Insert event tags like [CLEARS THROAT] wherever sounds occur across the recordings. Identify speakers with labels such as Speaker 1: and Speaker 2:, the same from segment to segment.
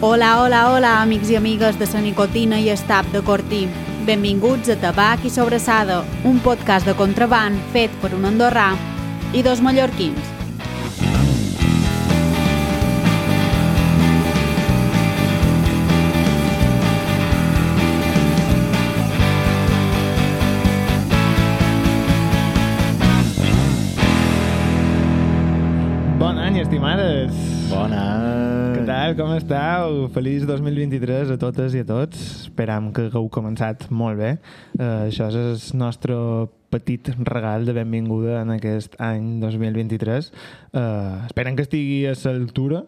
Speaker 1: Hola, hola, hola, amics i amigues de la nicotina i estap de Cortí. Benvinguts a Tabac i Sobressada, un podcast de contraband fet per un andorrà i dos mallorquins.
Speaker 2: Bon any, estimades!
Speaker 3: Bona.
Speaker 2: Què tal? Com esteu? Feliç 2023 a totes i a tots. Esperam que hagueu començat molt bé. Uh, això és el nostre petit regal de benvinguda en aquest any 2023. Uh, esperen que estigui a l'altura,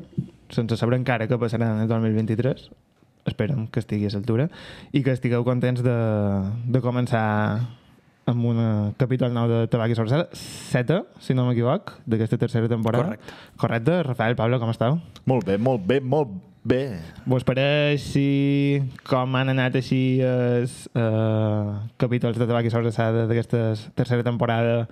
Speaker 2: sense saber encara què passarà en el 2023. Esperem que estigui a l'altura i que estigueu contents de, de començar amb un capítol nou de Tabac i Sobressada, seta, si no m'equivoc, d'aquesta tercera temporada.
Speaker 3: Correcte.
Speaker 2: Correcte. Rafael, Pablo, com esteu?
Speaker 3: Molt bé, molt bé, molt bé.
Speaker 2: Vos pareix si com han anat així els eh, capítols de Tabac i Sobressada d'aquesta tercera temporada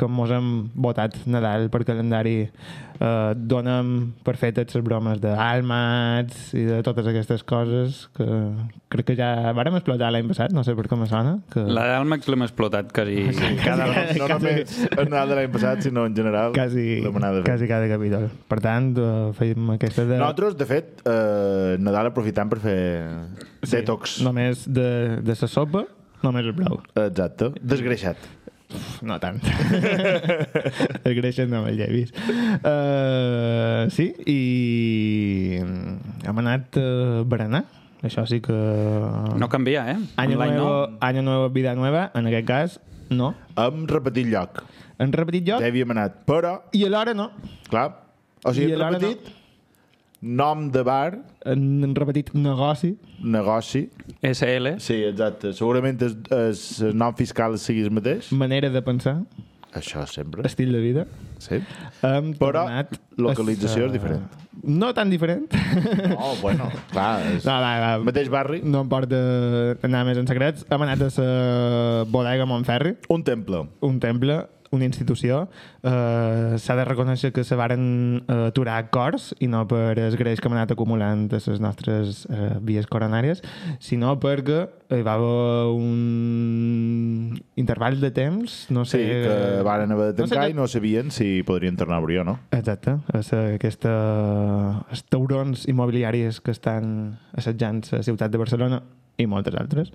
Speaker 2: com mos hem votat Nadal per calendari eh, donem per fetes les bromes d'almats i de totes aquestes coses que crec que ja vàrem explotar l'any passat, no sé per com me sona que...
Speaker 4: La d'Almax l'hem explotat quasi...
Speaker 2: Ah,
Speaker 3: Cada, no
Speaker 2: Quasi-
Speaker 3: només en Nadal de l'any passat, sinó en general.
Speaker 2: quasi,
Speaker 3: l'hem anat a fer.
Speaker 2: quasi cada capítol. Per tant, eh, fèiem aquesta de...
Speaker 3: eh. Nosaltres, de fet, eh, Nadal aprofitant per fer detox.
Speaker 2: Només de, de sa sopa, només el brou.
Speaker 3: Exacte, desgreixat.
Speaker 2: No tant. [LAUGHS] el greixen no me'l llevis. Uh, sí, i hem anat a berenar. Això sí que...
Speaker 4: No canvia, eh?
Speaker 2: Año
Speaker 4: Online
Speaker 2: nuevo, año nuevo, vida nueva, en aquest cas, no.
Speaker 3: Hem repetit lloc.
Speaker 2: Hem repetit
Speaker 3: Ja
Speaker 2: lloc
Speaker 3: hi havíem anat, però,
Speaker 2: i alhora no.
Speaker 3: clar, o sigui,
Speaker 2: I
Speaker 3: hem
Speaker 2: alhora no.
Speaker 3: repetit nom de bar,
Speaker 2: Hem repetit negoci.
Speaker 3: negoci.
Speaker 4: SL.
Speaker 3: Sí, exacte. Segurament es, es, el nom fiscal sigui el mateix.
Speaker 2: manera de pensar,
Speaker 3: Això sempre.
Speaker 2: estil de vida.
Speaker 3: Sí.
Speaker 2: Hem
Speaker 3: Però
Speaker 2: tornat a-
Speaker 3: localització és diferent.
Speaker 2: No tan diferent.
Speaker 3: Oh, bueno, clar. És...
Speaker 2: No, va, va.
Speaker 3: El mateix barri,
Speaker 2: no em porta anar més en secrets. Hem anat a la bodega Montferri,
Speaker 3: un temple.
Speaker 2: un temple, una institució. Eh, S'ha de reconèixer que se varen eh, aturar cors i no per es greix que hem anat acumulant a les nostres eh, vies coronàries, sinó perquè hi va haver un interval de temps, no
Speaker 3: Sí,
Speaker 2: sé...
Speaker 3: que varen haver
Speaker 2: Eh,
Speaker 3: de
Speaker 2: no sé
Speaker 3: tancar
Speaker 2: que-
Speaker 3: i no sabien si podrien tornar a obrir o no.
Speaker 2: Exacte, és aquesta, els taurons immobiliaris que estan assetjant la ciutat de Barcelona i moltes altres.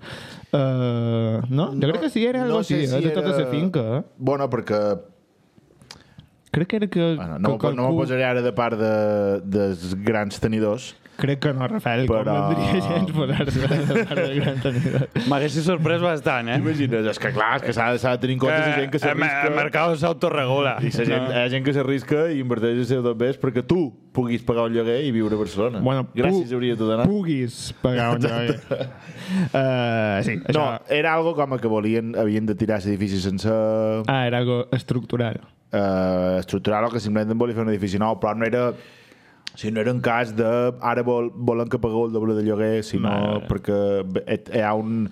Speaker 2: Uh, no? Jo crec que sí, era algo així, eh, de tota la finca. eh?
Speaker 3: Bueno, perquè...
Speaker 2: Crec que era que...
Speaker 3: Bueno, no,
Speaker 2: que
Speaker 3: que no m'ho posaré ara de part de, dels grans tenidors.
Speaker 2: Crec que no, Rafael,
Speaker 3: Però-
Speaker 2: però... com no et diria gens posar-se a part del gran tenidor.
Speaker 4: M'hagués sorprès bastant, eh?
Speaker 3: Imagines, és que clar, és que s'ha de, s'ha de tenir en compte la gent que
Speaker 4: el
Speaker 3: s'arrisca...
Speaker 4: mercat s'autoregula.
Speaker 3: I la gent, hi ha gent que s'arrisca i inverteix els seus dobbers perquè tu puguis pagar un lloguer i viure a Barcelona.
Speaker 2: Bueno,
Speaker 3: Gràcies
Speaker 2: pu-
Speaker 3: hauria de donar.
Speaker 2: Puguis pagar un lloguer. Uh, sí, això...
Speaker 3: No, era algo com que volien, havien de tirar l'edifici sense eh,
Speaker 2: Ah, era algo estructural.
Speaker 3: estructural o Eh, que simplement volia fer un edifici nou, però no era... Si no era un cas de ara vol, volen que pagueu el doble de lloguer, sinó Mare. perquè et- hi ha un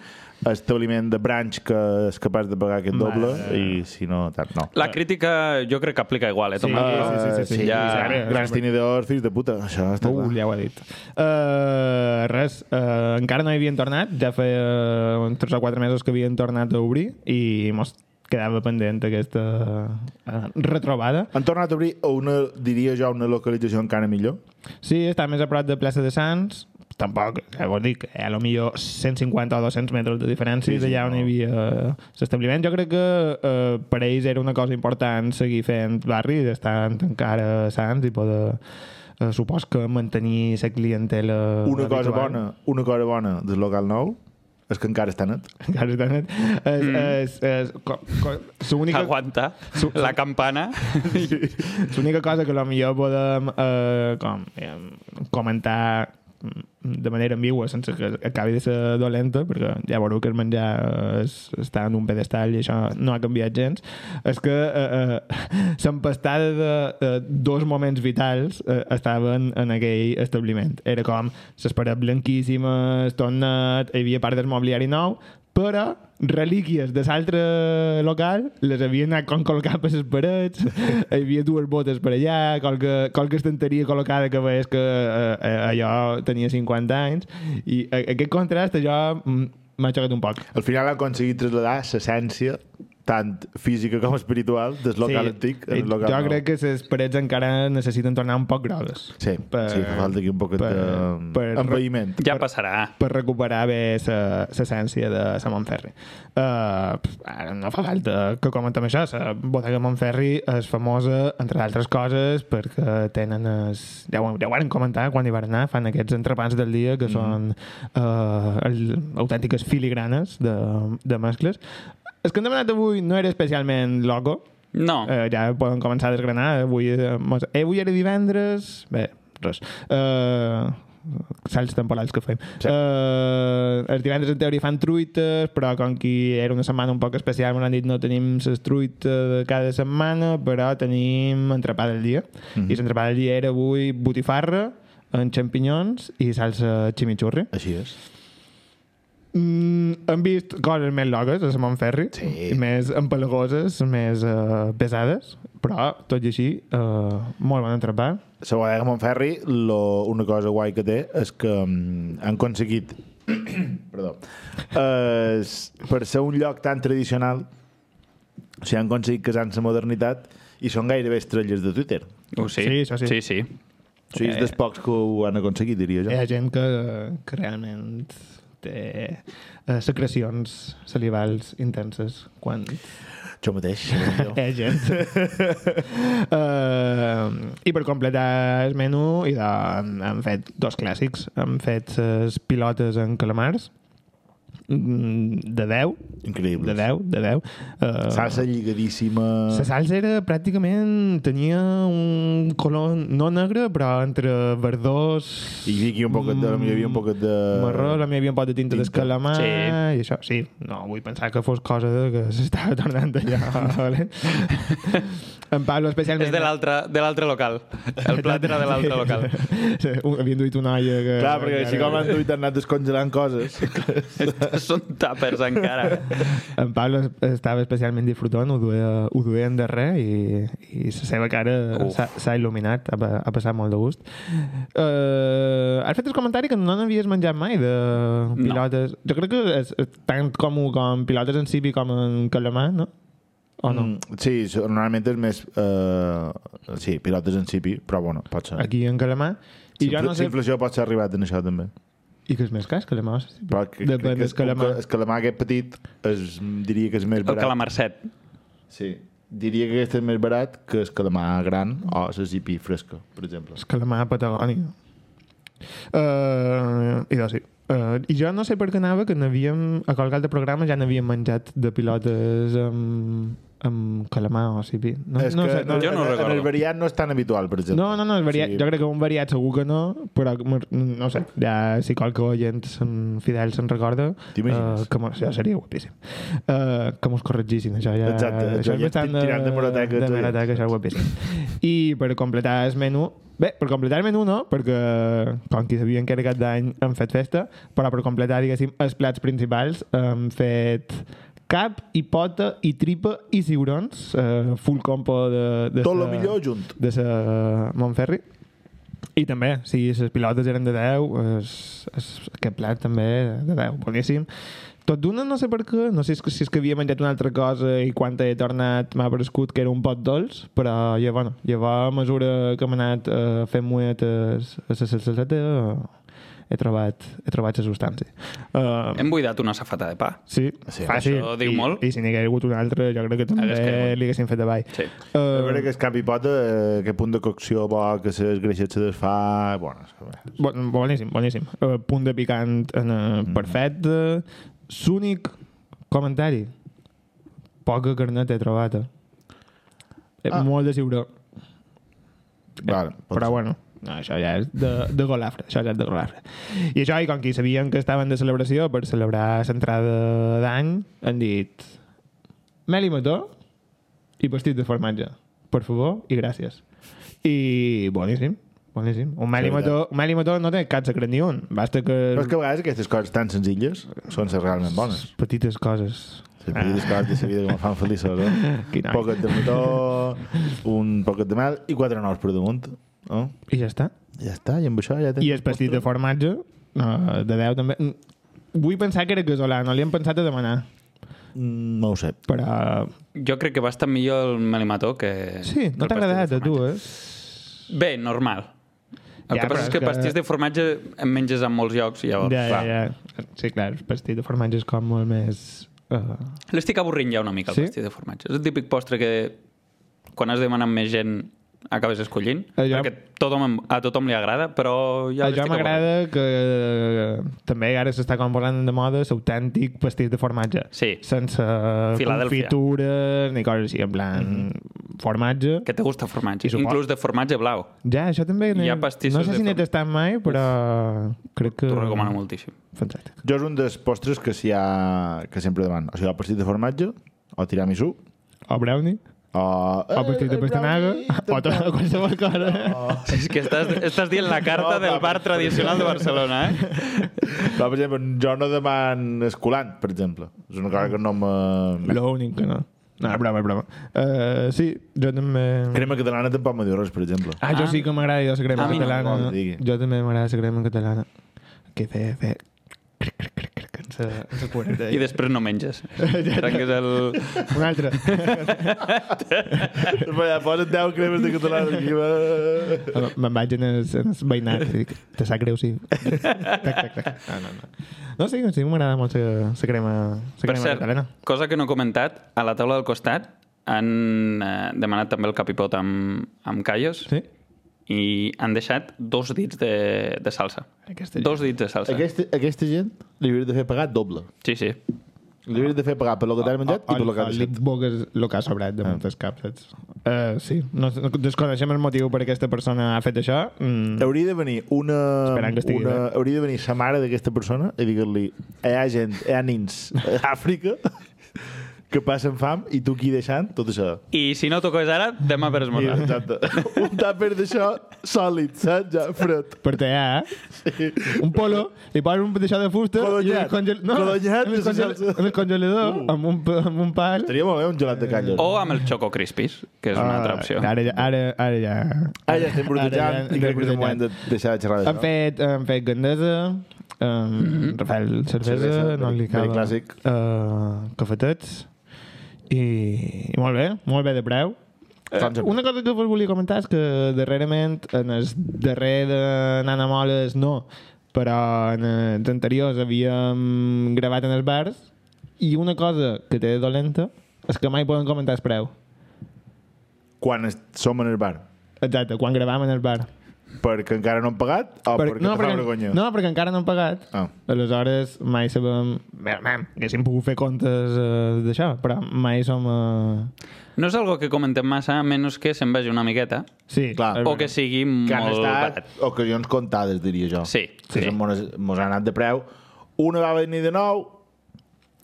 Speaker 3: establiment de branch que és capaç de pagar aquest doble i si no, tant, no.
Speaker 4: La crítica jo crec que aplica igual, eh? Tomàs?
Speaker 2: Sí, sí, sí, sí,
Speaker 3: Eh,
Speaker 2: sí,
Speaker 3: sí,
Speaker 4: ja-
Speaker 3: sí, sí, grans tenidors, fills de puta, això està
Speaker 2: Uh,
Speaker 3: clar.
Speaker 2: ja ho ha dit. Uh, res, uh, encara no hi havien tornat, ja feia uns 3 o 4 mesos que havien tornat a obrir i mos quedava pendent aquesta uh, retrobada.
Speaker 3: Han tornat a obrir una, diria jo, una localització encara millor.
Speaker 2: Sí, està més a prop de plaça de Sants, tampoc, ja vol dir que eh, a lo millor 150 o 200 metres de diferència
Speaker 3: Sí,
Speaker 2: sí,
Speaker 3: sí,
Speaker 2: d'allà on
Speaker 3: no.
Speaker 2: hi havia l'establiment. Jo crec que eh, per ells era una cosa important seguir fent barri, estant encara a Sants i poder... Eh, supos que mantenir la clientela
Speaker 3: Una cosa
Speaker 2: habitual.
Speaker 3: bona, una cosa bona del local nou és que encara està net.
Speaker 2: [LAUGHS] Encara està net. És, és, és, co- co- L'única
Speaker 4: Aguanta.
Speaker 2: Su-
Speaker 4: La campana.
Speaker 2: l'única cosa que potser podem eh, com, eh, comentar mm, de manera ambigua, sense que acabi de ser dolenta, perquè ja veureu que el menjar eh, és, està en un pedestal i això no ha canviat gens, és que eh, [LAUGHS] eh, l'empestada de eh, dos moments vitals eh, estaven en aquell establiment. Era com les parets blanquíssimes, tot net, hi havia part del mobiliari nou, però relíquies de l'altre local les havien anat com col·locar per les
Speaker 3: [LAUGHS]
Speaker 2: parets, hi havia dues botes per allà, qualque, qualque estanteria col·locada que veies que eh, eh, allò tenia 50 anys, i a- aquest contrast allò mm, m'ha xocat un poc.
Speaker 3: Al final ha aconseguit traslladar l'essència tant física com espiritual del local sí. antic
Speaker 2: eh,
Speaker 3: al local
Speaker 2: jo
Speaker 3: nou.
Speaker 2: crec que les parets encara necessiten tornar un poc grogues.
Speaker 3: Sí, per, sí, fa falta aquí un poquet
Speaker 2: per-
Speaker 3: per,
Speaker 2: per-
Speaker 3: d'envaïment.
Speaker 4: Ja passarà.
Speaker 2: per recuperar bé sa- l'essència de la Montferri. Uh, ara no fa falta que comentem això. La bodega Montferri és famosa, entre altres coses, perquè tenen... Es... Ja, ho, ja ho van comentar quan hi van anar, fan aquests entrepans del dia que mm. són uh, el, autèntiques filigranes de, de mascles. El que hem demanat avui no era especialment logo,
Speaker 4: No.
Speaker 2: Eh, ja poden començar a desgranar. Avui, eh, mos- eh, avui era divendres... Bé, res. Eh, salts temporals que fem.
Speaker 3: Sí.
Speaker 2: Sí. Eh, els divendres en teoria fan truites, però com que era una setmana un poc especial, m'han dit no tenim les truites de cada setmana, però tenim entrepà del dia. Mm -hmm. I l'entrepà del dia era avui botifarra, amb xampinyons i salsa chimichurri.
Speaker 3: Així és.
Speaker 2: Mm, hem vist coses més logues a Samon Ferri,
Speaker 3: Sí.
Speaker 2: més empalagoses, més uh, pesades, però, tot i així, uh, molt bon entrepà.
Speaker 3: La bodega Montferri, lo, una cosa guai que té és que mm, han aconseguit [COUGHS] perdó, eh, s- per ser un lloc tan tradicional o sigui, han aconseguit casar amb la modernitat i són gairebé estrelles de Twitter.
Speaker 4: Ho sé.
Speaker 2: Sí, això sí.
Speaker 4: Oh, sí, sí.
Speaker 3: O
Speaker 2: Eh.
Speaker 3: sigui, és dels pocs que ho han aconseguit, diria jo.
Speaker 2: Hi ha gent que, que realment té uh, secrecions salivals intenses [LAUGHS] quan...
Speaker 3: Jo mateix. eh, jo.
Speaker 2: [LAUGHS] Hi ha gent. uh, I per completar el menú, i de, hem fet dos clàssics. Hem fet les pilotes en calamars, mm, de 10,
Speaker 3: Increïble.
Speaker 2: De 10, de 10. Uh,
Speaker 3: Salsa lligadíssima.
Speaker 2: La salsa era pràcticament... Tenia un color no negre, però entre verdós...
Speaker 3: I hi havia un poquet de... Hi havia un poquet de...
Speaker 2: Marró, la meva havia un pot de tinta
Speaker 3: tinta.
Speaker 2: d'escalamar
Speaker 4: Sí.
Speaker 2: i això, sí. No, vull pensar que fos cosa de que s'estava tornant
Speaker 3: [LAUGHS]
Speaker 2: allà. vale? en Pablo especialment...
Speaker 4: És de l'altre de l'altre local. El plat era de l'altre local.
Speaker 2: Sí, un- havien duit una olla que...
Speaker 3: Clar, perquè així com han duit han anat descongelant coses.
Speaker 4: Estos [LAUGHS] Són tàpers encara.
Speaker 2: En Pablo es- estava especialment disfrutant, ho duia, ho duia en darrer i, i la seva cara
Speaker 4: Uf.
Speaker 2: s'ha s'ha il·luminat, ha, pa- ha passat molt de gust. Uh, has fet el comentari que no n'havies menjat mai de pilotes. No. Jo crec que és, és tan comú com pilotes en sibi com en calamar, no? [LAUGHS] O no? Mm.
Speaker 3: Mm, sí, so- normalment és més... eh, sí, pilotes en cipi, però bueno, pot ser.
Speaker 2: Aquí en calamar. I jo no sé...
Speaker 3: Inflació pot ser arribat en això també.
Speaker 2: I que és més cas, calamar o sibi?
Speaker 3: Però que,
Speaker 2: Depèn
Speaker 3: crec que
Speaker 2: del calamar.
Speaker 3: El calamar aquest petit es, diria que és més
Speaker 4: El
Speaker 3: barat.
Speaker 4: calamarset.
Speaker 3: Sí. Diria que aquest és més barat que el calamar gran o la cipi fresca, per exemple.
Speaker 2: És que la mà a Patagònia. Uh, I doncs sí. Uh, I jo no sé per què anava, que n'havíem... A qualque altre programa ja n'havíem menjat de pilotes amb, amb calamar o sigui... No,
Speaker 3: És
Speaker 2: no, sé,
Speaker 3: que
Speaker 2: no,
Speaker 4: Jo no
Speaker 3: en, en
Speaker 4: recordo.
Speaker 3: el variat no és tan habitual, per exemple.
Speaker 2: no, no, no, és variat.
Speaker 3: Sí.
Speaker 2: Sí. Jo crec que un variat segur que no, però me- no ho sé, ja si qualque oient se'n- fidel se'n recorda, eh,
Speaker 3: T'imagines?
Speaker 2: que mos, ja seria guapíssim. Uh, que mos corregissin, això ja...
Speaker 3: Exacte, jo
Speaker 2: això
Speaker 3: ja
Speaker 2: és bastant eh,
Speaker 3: estic tirant de morateca,
Speaker 2: De
Speaker 3: tu ja.
Speaker 2: morateca, això és guapíssim. I per completar el menú... Bé, per completar el menú no, perquè com que sabien que era cap d'any hem fet festa, però per completar, diguéssim, els plats principals hem fet cap i pota i tripa i ciurons, eh, full compo de... de
Speaker 3: Tot
Speaker 2: sa-
Speaker 3: el millor junt.
Speaker 2: de la Montferri. I també, si les pilotes eren de 10, es, es, aquest plat també de 10, boníssim. Tot d'una no sé per què, no sé si és que- si és que havia menjat una altra cosa i quan he tornat m'ha parescut que era un pot dolç, però ja, bueno, ja va a mesura que hem anat eh, fent eh, muetes a la salseta, he trobat, he trobat la substància. Eh,
Speaker 4: Hem buidat una safata de pa.
Speaker 2: sí,
Speaker 3: Sí,
Speaker 2: fàcil.
Speaker 4: això diu
Speaker 2: I,
Speaker 4: molt.
Speaker 2: I si n'hi hagués hagut una altra, jo crec que
Speaker 4: Hagués
Speaker 2: també
Speaker 4: caigut.
Speaker 2: li haguessin fet davall.
Speaker 4: Sí.
Speaker 3: A
Speaker 2: Eh,
Speaker 3: veure que és cap i pota, eh, que punt de cocció bo, que les greixes se desfà... Bueno, és que bé.
Speaker 2: Bon, boníssim, boníssim. Uh, punt de picant en, uh, perfecte. S'únic comentari. Poca carnet he trobat. Eh? Ah. Molt de ciuró.
Speaker 3: Vale, pot
Speaker 2: Eh, Però
Speaker 3: ser.
Speaker 2: bueno, no, això ja és de, de golafre, això ja és de golafre. I això, i com que sabien que estaven de celebració per celebrar l'entrada d'any, han dit mel i mató i pastit de formatge, per favor, i gràcies. I boníssim, Boníssim. Un Meli Mató, un Meli Mató no té cap secret ni un. Basta que...
Speaker 3: Però és que a vegades aquestes coses tan senzilles són les realment bones.
Speaker 2: Petites coses. Ah,
Speaker 3: Les petites coses de la vida que me fan feliços, eh?
Speaker 2: Quin
Speaker 3: Un
Speaker 2: noi.
Speaker 3: poquet de motor, un poquet de mel i quatre nous per damunt. Eh?
Speaker 2: I ja està.
Speaker 3: Ja està, i amb això ja tens...
Speaker 2: I el pastit de formatge, eh, de 10 també... Mm, Vull pensar que era casolà, no li hem pensat a demanar.
Speaker 3: Mm, No ho sé.
Speaker 2: Però...
Speaker 4: Jo crec que va estar millor el melimató que...
Speaker 2: Sí,
Speaker 4: que
Speaker 2: no
Speaker 4: el
Speaker 2: t'ha
Speaker 4: pastís de
Speaker 2: agradat a tu,
Speaker 4: formatge.
Speaker 2: eh?
Speaker 4: Bé, normal. El
Speaker 2: Ja,
Speaker 4: ja, que
Speaker 2: però
Speaker 4: passa és
Speaker 2: és
Speaker 4: que,
Speaker 2: que-
Speaker 4: pastís de formatge en menges en molts llocs, llavors...
Speaker 2: eh? Ja, ja,
Speaker 4: clar.
Speaker 2: ja. Sí, clar, el pastit de formatge és com molt més... Uh,
Speaker 4: L'estic avorrint ja una mica, el
Speaker 2: Sí?
Speaker 4: sí? pastís de formatge. És el típic postre que quan has demanat més gent acabes escollint,
Speaker 2: Eh, jo-
Speaker 4: perquè tothom, a tothom li agrada, però ja
Speaker 2: a jo
Speaker 4: l'estic avorrint.
Speaker 2: m'agrada que eh, també ara s'està com posant de moda l'autèntic pastís de formatge.
Speaker 4: Sí.
Speaker 2: Sense
Speaker 4: Filadèlfia. Mhm.
Speaker 2: confitures ni coses així, en plan formatge.
Speaker 4: Que te gusta formatge,
Speaker 2: I suposo-
Speaker 4: inclús de formatge blau.
Speaker 2: Ja, això també...
Speaker 4: Hi ha
Speaker 2: n'he-
Speaker 4: pastissos
Speaker 2: No sé
Speaker 4: de
Speaker 2: si n'he
Speaker 4: formatge.
Speaker 2: tastat mai, però crec que...
Speaker 4: T'ho recomano moltíssim.
Speaker 2: Fantàstic.
Speaker 3: Jo és un dels postres que, s'hi ha, que sempre demano. O sigui, el pastit de formatge, o tiramisú,
Speaker 2: O brownie,
Speaker 3: o... eh,
Speaker 2: o pastit de pastanaga, o tota qualsevol cosa.
Speaker 4: És que estàs, estàs dient
Speaker 2: [LAUGHS]
Speaker 4: la carta
Speaker 3: No,
Speaker 4: del
Speaker 3: clar,
Speaker 4: bar
Speaker 3: però-
Speaker 4: tradicional de Barcelona, eh?
Speaker 3: Però, per exemple, jo no deman escolant, per exemple. És una cosa que no me...
Speaker 2: L'únic que no. No, és Ah, broma, és broma. Uh, sí, jo també...
Speaker 3: Crema catalana tampoc me diu res, per
Speaker 2: [LAUGHS]
Speaker 3: exemple.
Speaker 2: Ah, jo
Speaker 4: Ah.
Speaker 2: sí que m'agrada la crema
Speaker 4: A mi no. Oh,
Speaker 2: catalana.
Speaker 3: Vol dir que-
Speaker 2: Jo també m'agrada la crema catalana. Que fe, fe... Cric, cric, cric, cric, en sa- en sa
Speaker 4: [LAUGHS]
Speaker 2: cuereta.
Speaker 4: I després no
Speaker 2: [LAUGHS]
Speaker 4: menges. Trenques el...
Speaker 2: Un
Speaker 4: [LAUGHS]
Speaker 2: altre.
Speaker 3: Vaja, posa't 10 cremes de catalana aquí, va.
Speaker 2: Me'n vaig en el, en el veïnat i dic, te sap greu,
Speaker 4: [LAUGHS]
Speaker 2: sí. tac, tac, tac.
Speaker 4: Ah,
Speaker 2: No, no, no. No, sí, sí, m'agrada molt la la crema, la
Speaker 4: Per
Speaker 2: crema
Speaker 4: cert,
Speaker 2: catalana.
Speaker 4: cosa que no he comentat, a la taula del costat han eh, demanat també el capipot amb, amb callos
Speaker 2: Sí?
Speaker 4: i han deixat dos dits de, de salsa.
Speaker 2: Aquesta
Speaker 4: Dos dits de salsa.
Speaker 3: Aquesta, aquesta gent li hauries de fer pagar doble.
Speaker 4: Sí, sí.
Speaker 3: Li hauries de fer pagar per lo que t'han menjat i per lo que
Speaker 2: O
Speaker 3: t'han
Speaker 2: li
Speaker 3: deixat.
Speaker 2: bogues el que ha sobrat de moltes caps, saps? Ah. Eh, sí, no, no desconeixem el motiu per què aquesta persona ha fet això. Mm.
Speaker 3: Hauria de venir una...
Speaker 2: Esperant que estigui
Speaker 3: una
Speaker 2: bé.
Speaker 3: hauria de venir sa mare d'aquesta persona i dir-li hi ha gent, hi ha nins a [LAUGHS] Àfrica que passen fam i tu aquí deixant tot això.
Speaker 4: I si no toques ara, demà per
Speaker 3: I,
Speaker 4: esmorzar.
Speaker 3: exacte. Un tàper d'això sòlid, saps? Ja, fred.
Speaker 2: Per tallar, eh? Un polo, li posen un d'això de fusta i
Speaker 3: Codonyat.
Speaker 2: el congel...
Speaker 3: Codonyat
Speaker 2: en
Speaker 3: i
Speaker 2: el,
Speaker 3: se
Speaker 2: congel...
Speaker 3: salsa.
Speaker 2: en el congelador,
Speaker 3: Uh.
Speaker 2: amb, un, pa- amb un pal.
Speaker 3: Estaria molt bé un gelat de callos.
Speaker 4: O amb el Choco Crispis, que és una altra opció.
Speaker 2: Ah, Ara, ja- ara, ara ja...
Speaker 3: Ah, ja estem brutejant
Speaker 2: Ara
Speaker 3: i crec que és el
Speaker 2: brutejant.
Speaker 3: moment de deixar de xerrar
Speaker 2: Han
Speaker 3: d'això.
Speaker 2: fet, han fet Gandesa, um, Rafael Cervesa,
Speaker 3: Cervesa,
Speaker 2: no li
Speaker 3: very
Speaker 2: acaba.
Speaker 3: clàssic.
Speaker 2: Uh, cafetets. I, I molt bé, molt bé de preu. Eh,
Speaker 3: Com sempre.
Speaker 2: una cosa que vos volia comentar és que darrerament, en el darrer de Nana Moles no, però en els anteriors havíem gravat en els bars i una cosa que té de dolenta és que mai poden comentar el preu.
Speaker 3: Quan es- som en el bar.
Speaker 2: Exacte, quan gravam en el bar.
Speaker 3: Perquè encara no han pagat o Ah, perquè
Speaker 2: no,
Speaker 3: te fa vergonya?
Speaker 2: no, perquè encara no han pagat.
Speaker 3: Ah.
Speaker 2: Aleshores, mai sabem... Bé, mem, haguéssim pogut fer comptes uh, d'això, però mai som... Uh...
Speaker 4: No és algo que comentem massa, a menys que se'n vagi una miqueta,
Speaker 2: Sí, eh,
Speaker 3: Clar.
Speaker 2: és
Speaker 4: o que
Speaker 2: veritat.
Speaker 4: sigui
Speaker 3: que han
Speaker 4: molt
Speaker 3: estat
Speaker 4: barat.
Speaker 3: ocasions comptades, diria jo.
Speaker 4: Sí,
Speaker 3: Que
Speaker 4: sí.
Speaker 3: són bones- mos han anat de preu. Una va venir de nou,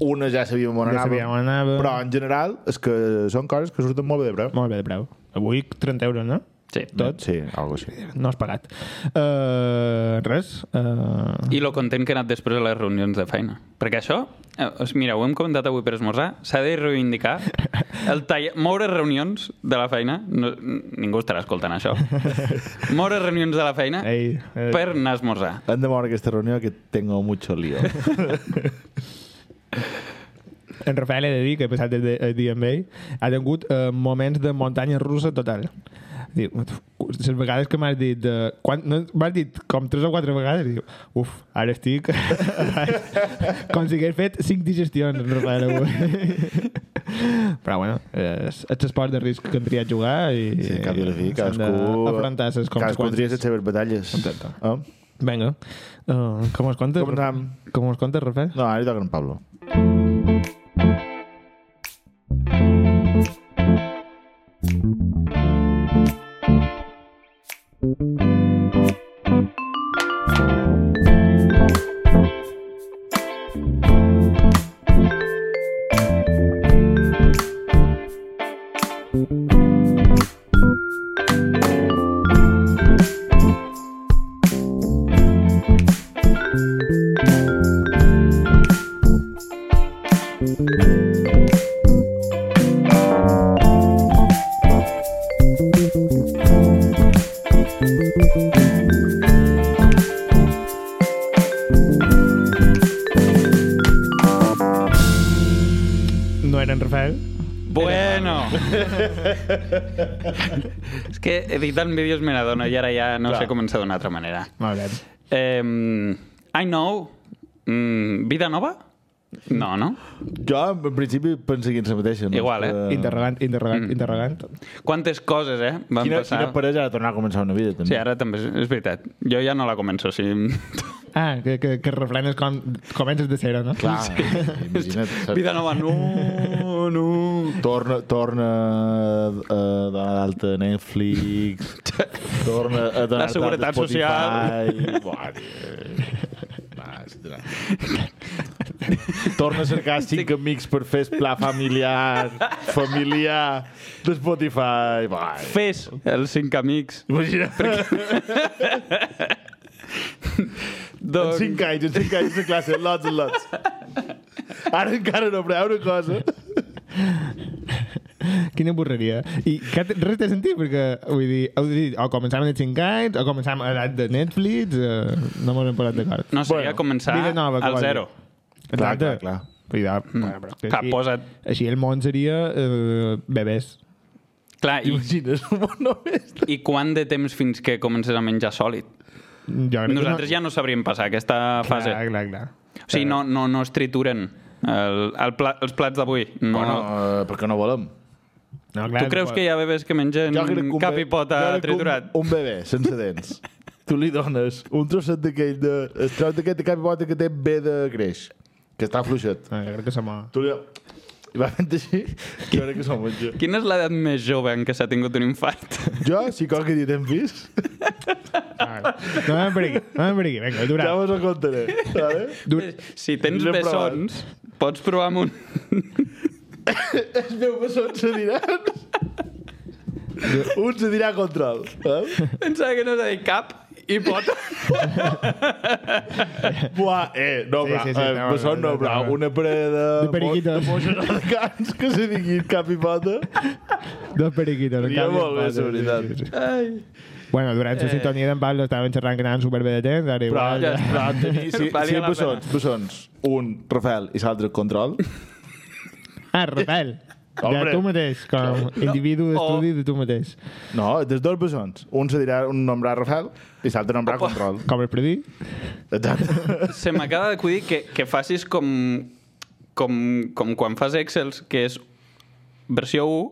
Speaker 3: una ja sabíem on
Speaker 2: Ja
Speaker 3: anava.
Speaker 2: sabíem on anava.
Speaker 3: Però, en general, és que són coses que surten molt bé de preu.
Speaker 2: Molt bé de preu. Avui 30 euros, no?
Speaker 4: Sí.
Speaker 2: Tot.
Speaker 3: Sí, algo així.
Speaker 2: No has pagat. Uh, res. Uh...
Speaker 4: I lo content que he anat després a les reunions de feina. Perquè això, eh, os- mira, ho hem comentat avui per esmorzar, s'ha de reivindicar el tall... moure reunions de la feina, no, n- ningú estarà escoltant això, moure reunions de la feina
Speaker 2: Ei, eh,
Speaker 4: per anar a esmorzar.
Speaker 3: Hem de moure aquesta reunió que tengo mucho lío.
Speaker 2: En Rafael he de dir que he passat el, de- el dia amb ell, ha tingut eh, moments de muntanya russa total. Diu, les vegades que m'has dit... Eh, quan, no, m'has dit com tres o quatre vegades, diu, uf, ara estic... [LAUGHS] com si hagués fet cinc digestions, en Rafael, avui. [LAUGHS] Però, bueno, és, és l'esport de risc que hem triat jugar i...
Speaker 3: Sí, cap i a la fi,
Speaker 2: s'han
Speaker 3: cadascú...
Speaker 2: d'afrontar les
Speaker 3: Cadascú tria les
Speaker 2: conseqüències.
Speaker 3: seves batalles.
Speaker 2: Exacte.
Speaker 3: Eh?
Speaker 2: Vinga, uh, com es contes?
Speaker 3: Com anam?
Speaker 2: Com es contes, Rafael?
Speaker 3: No, ara li toca a en Pablo.
Speaker 2: No era en Rafael.
Speaker 4: Bueno. és que editant vídeos me n'adono i ara ja no
Speaker 3: Clar.
Speaker 4: sé començar d'una altra manera.
Speaker 2: Molt bé.
Speaker 4: Eh, I know. Mm, vida nova? No, no?
Speaker 3: Jo, en principi, penso que ens mateixa. No?
Speaker 4: Igual, eh?
Speaker 3: Eh,
Speaker 2: Interrogant, interrogant, interrogant.
Speaker 4: Quantes coses, eh? Van
Speaker 3: Quina,
Speaker 4: passar...
Speaker 3: quina parella ha de tornar a començar una vida, també.
Speaker 4: Sí, ara també és, és veritat. Jo ja no la començo, tota sí. [LAUGHS]
Speaker 2: Ah, que, que, que refrenes com, comences de zero, no?
Speaker 3: Clar, [LAUGHS] imagina't. saps?
Speaker 4: Vida nova, no, no.
Speaker 3: Torna, torna a donar d'alta a Netflix, [LAUGHS] torna a donar
Speaker 4: La Seguretat Social.
Speaker 3: Buah, tio. Va, sí, tira. torna a cercar cinc amics per fer pla familiar, familiar, de Spotify. Va,
Speaker 4: Fes els cinc amics.
Speaker 3: imagina't. En
Speaker 4: Doncs,
Speaker 3: cinc anys, en cinc anys de classe, lots and lots. Ara encara no preu una cosa.
Speaker 2: Quina borreria. I que té- res té sentit, perquè vull dir, heu dit, o començàvem de 5 anys, o començàvem a edat de Netflix, eh, no m'ho hem posat d'acord.
Speaker 4: No, seria començar
Speaker 2: vida
Speaker 4: al
Speaker 2: com has dit.
Speaker 4: zero.
Speaker 3: Clar,
Speaker 2: Exacte.
Speaker 3: clar, clar.
Speaker 2: Vull dir, ah, bueno, però que
Speaker 4: Mm. Clar,
Speaker 2: així-
Speaker 4: posa't-
Speaker 2: Així el món seria eh, bebès.
Speaker 4: clar, i,
Speaker 3: Imagines un món només.
Speaker 4: i quant de temps fins que comences a menjar sòlid?
Speaker 2: Jo crec que
Speaker 4: Nosaltres ja no sabríem passar aquesta
Speaker 2: Clar,
Speaker 4: fase.
Speaker 2: clar, clar.
Speaker 4: O sigui, no, no, no es trituren el, el pla, els plats d'avui. No,
Speaker 3: Bueno,
Speaker 4: no.
Speaker 3: eh, perquè no volem.
Speaker 2: No, clar,
Speaker 4: Tu creus que hi ha bebès que mengen
Speaker 3: Jo crec que un
Speaker 4: cap
Speaker 3: be-
Speaker 4: i pota
Speaker 3: jo crec que
Speaker 4: triturat?
Speaker 3: Un, un bebè sense dents. tu li dones un trosset d'aquell de... El trosset d'aquest de cap i pota que té bé de greix, que està fluixet.
Speaker 2: No, jo crec que som... a-
Speaker 3: Tu li... I va fent així, jo crec que s'ho menja.
Speaker 4: Quina és l'edat més jove en què s'ha tingut un infart?
Speaker 3: Jo, si qualque dia t'hem vist,
Speaker 2: Ah, No anem per aquí, no anem per aquí. Vinga,
Speaker 3: ja
Speaker 2: durat.
Speaker 3: vos ho contaré. Vale?
Speaker 2: Dur...
Speaker 4: Si tens
Speaker 3: No he provat.
Speaker 4: bessons, pots provar amb un... [LAUGHS]
Speaker 3: Els meus bessons se diran... Un se dirà control. Eh?
Speaker 4: Pensava que no s'ha dit cap i pota.
Speaker 3: Buah, eh, no,
Speaker 2: Sí,
Speaker 3: bra,
Speaker 2: sí, sí,
Speaker 3: eh,
Speaker 2: no,
Speaker 3: besson
Speaker 2: no,
Speaker 3: no,
Speaker 2: no,
Speaker 3: bra,
Speaker 2: no.
Speaker 3: una parella de...
Speaker 2: De periquitos.
Speaker 3: mo- De moixos elegants que se diguin cap i pota.
Speaker 2: Dos periquitos. en
Speaker 3: Seria
Speaker 2: canvi,
Speaker 3: molt bé,
Speaker 2: quatre,
Speaker 3: la veritat.
Speaker 2: sí, sí, sí.
Speaker 4: Ai.
Speaker 2: Bueno, durant la sintonia d'en Pablo estàvem xerrant que anàvem superbé de temps, ara
Speaker 3: Però,
Speaker 2: igual...
Speaker 4: Eh. ja
Speaker 3: ja
Speaker 4: està.
Speaker 3: però tenir, si,
Speaker 4: Valia
Speaker 3: si
Speaker 4: la
Speaker 3: bessons, bessons, un, Rafael, i l'altre, control,
Speaker 2: Ah, Rafael. De
Speaker 3: Hombre.
Speaker 2: tu mateix, com individu d'estudi de tu mateix.
Speaker 3: no, dels dos bessons, un se dirà un nombrà Rafael i l'altre nombrà
Speaker 4: Opa.
Speaker 3: control.
Speaker 2: Com el predí?
Speaker 3: Exacte.
Speaker 4: Se m'acaba d'acudir que, que facis com, com, com quan fas Excels, que és versió 1,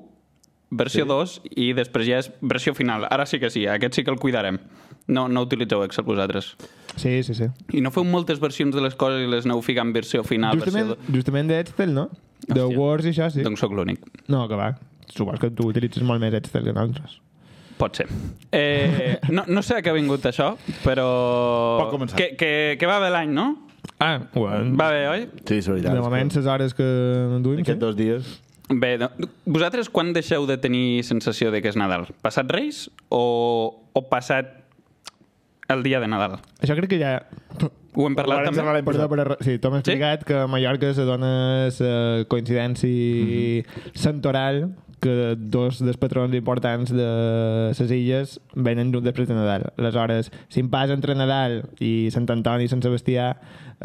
Speaker 4: versió sí. 2 i després ja és versió final. Ara sí que sí, aquest sí que el cuidarem. No, no utilitzeu Excel vosaltres.
Speaker 2: Sí, sí, sí.
Speaker 4: I no feu moltes versions de les coses i les aneu ficant versió final,
Speaker 2: Justament,
Speaker 4: versió
Speaker 2: justament d'Excel, no? De
Speaker 4: Hòstia.
Speaker 2: Words i això, sí.
Speaker 4: 2. Doncs sóc l'únic.
Speaker 2: No, que va. Supos que tu utilitzes molt més Excel que nosaltres.
Speaker 4: Pot ser. Eh, no, no sé a què ha vingut això, però...
Speaker 3: Pot començar.
Speaker 4: Que, que, que va bé l'any, no?
Speaker 2: Ah, bueno.
Speaker 4: Va bé, oi?
Speaker 3: Sí, és veritat.
Speaker 2: De moment, les hores que duim, sí.
Speaker 3: Aquests dos dies...
Speaker 4: Bé, no. vosaltres quan deixeu de tenir sensació de que és Nadal? Passat Reis o, o passat el dia de Nadal?
Speaker 2: Això crec que ja...
Speaker 4: Ho hem parlat
Speaker 3: Vàrem
Speaker 4: també?
Speaker 3: parlar-
Speaker 2: Perdó, però sí, tu m'has
Speaker 4: Sí?
Speaker 2: explicat que a Mallorca se dona la eh, coincidència santoral que dos dels patrons importants de les illes venen d'un després de Nadal. Aleshores, si em pas entre Nadal i Sant Antoni i Sant Sebastià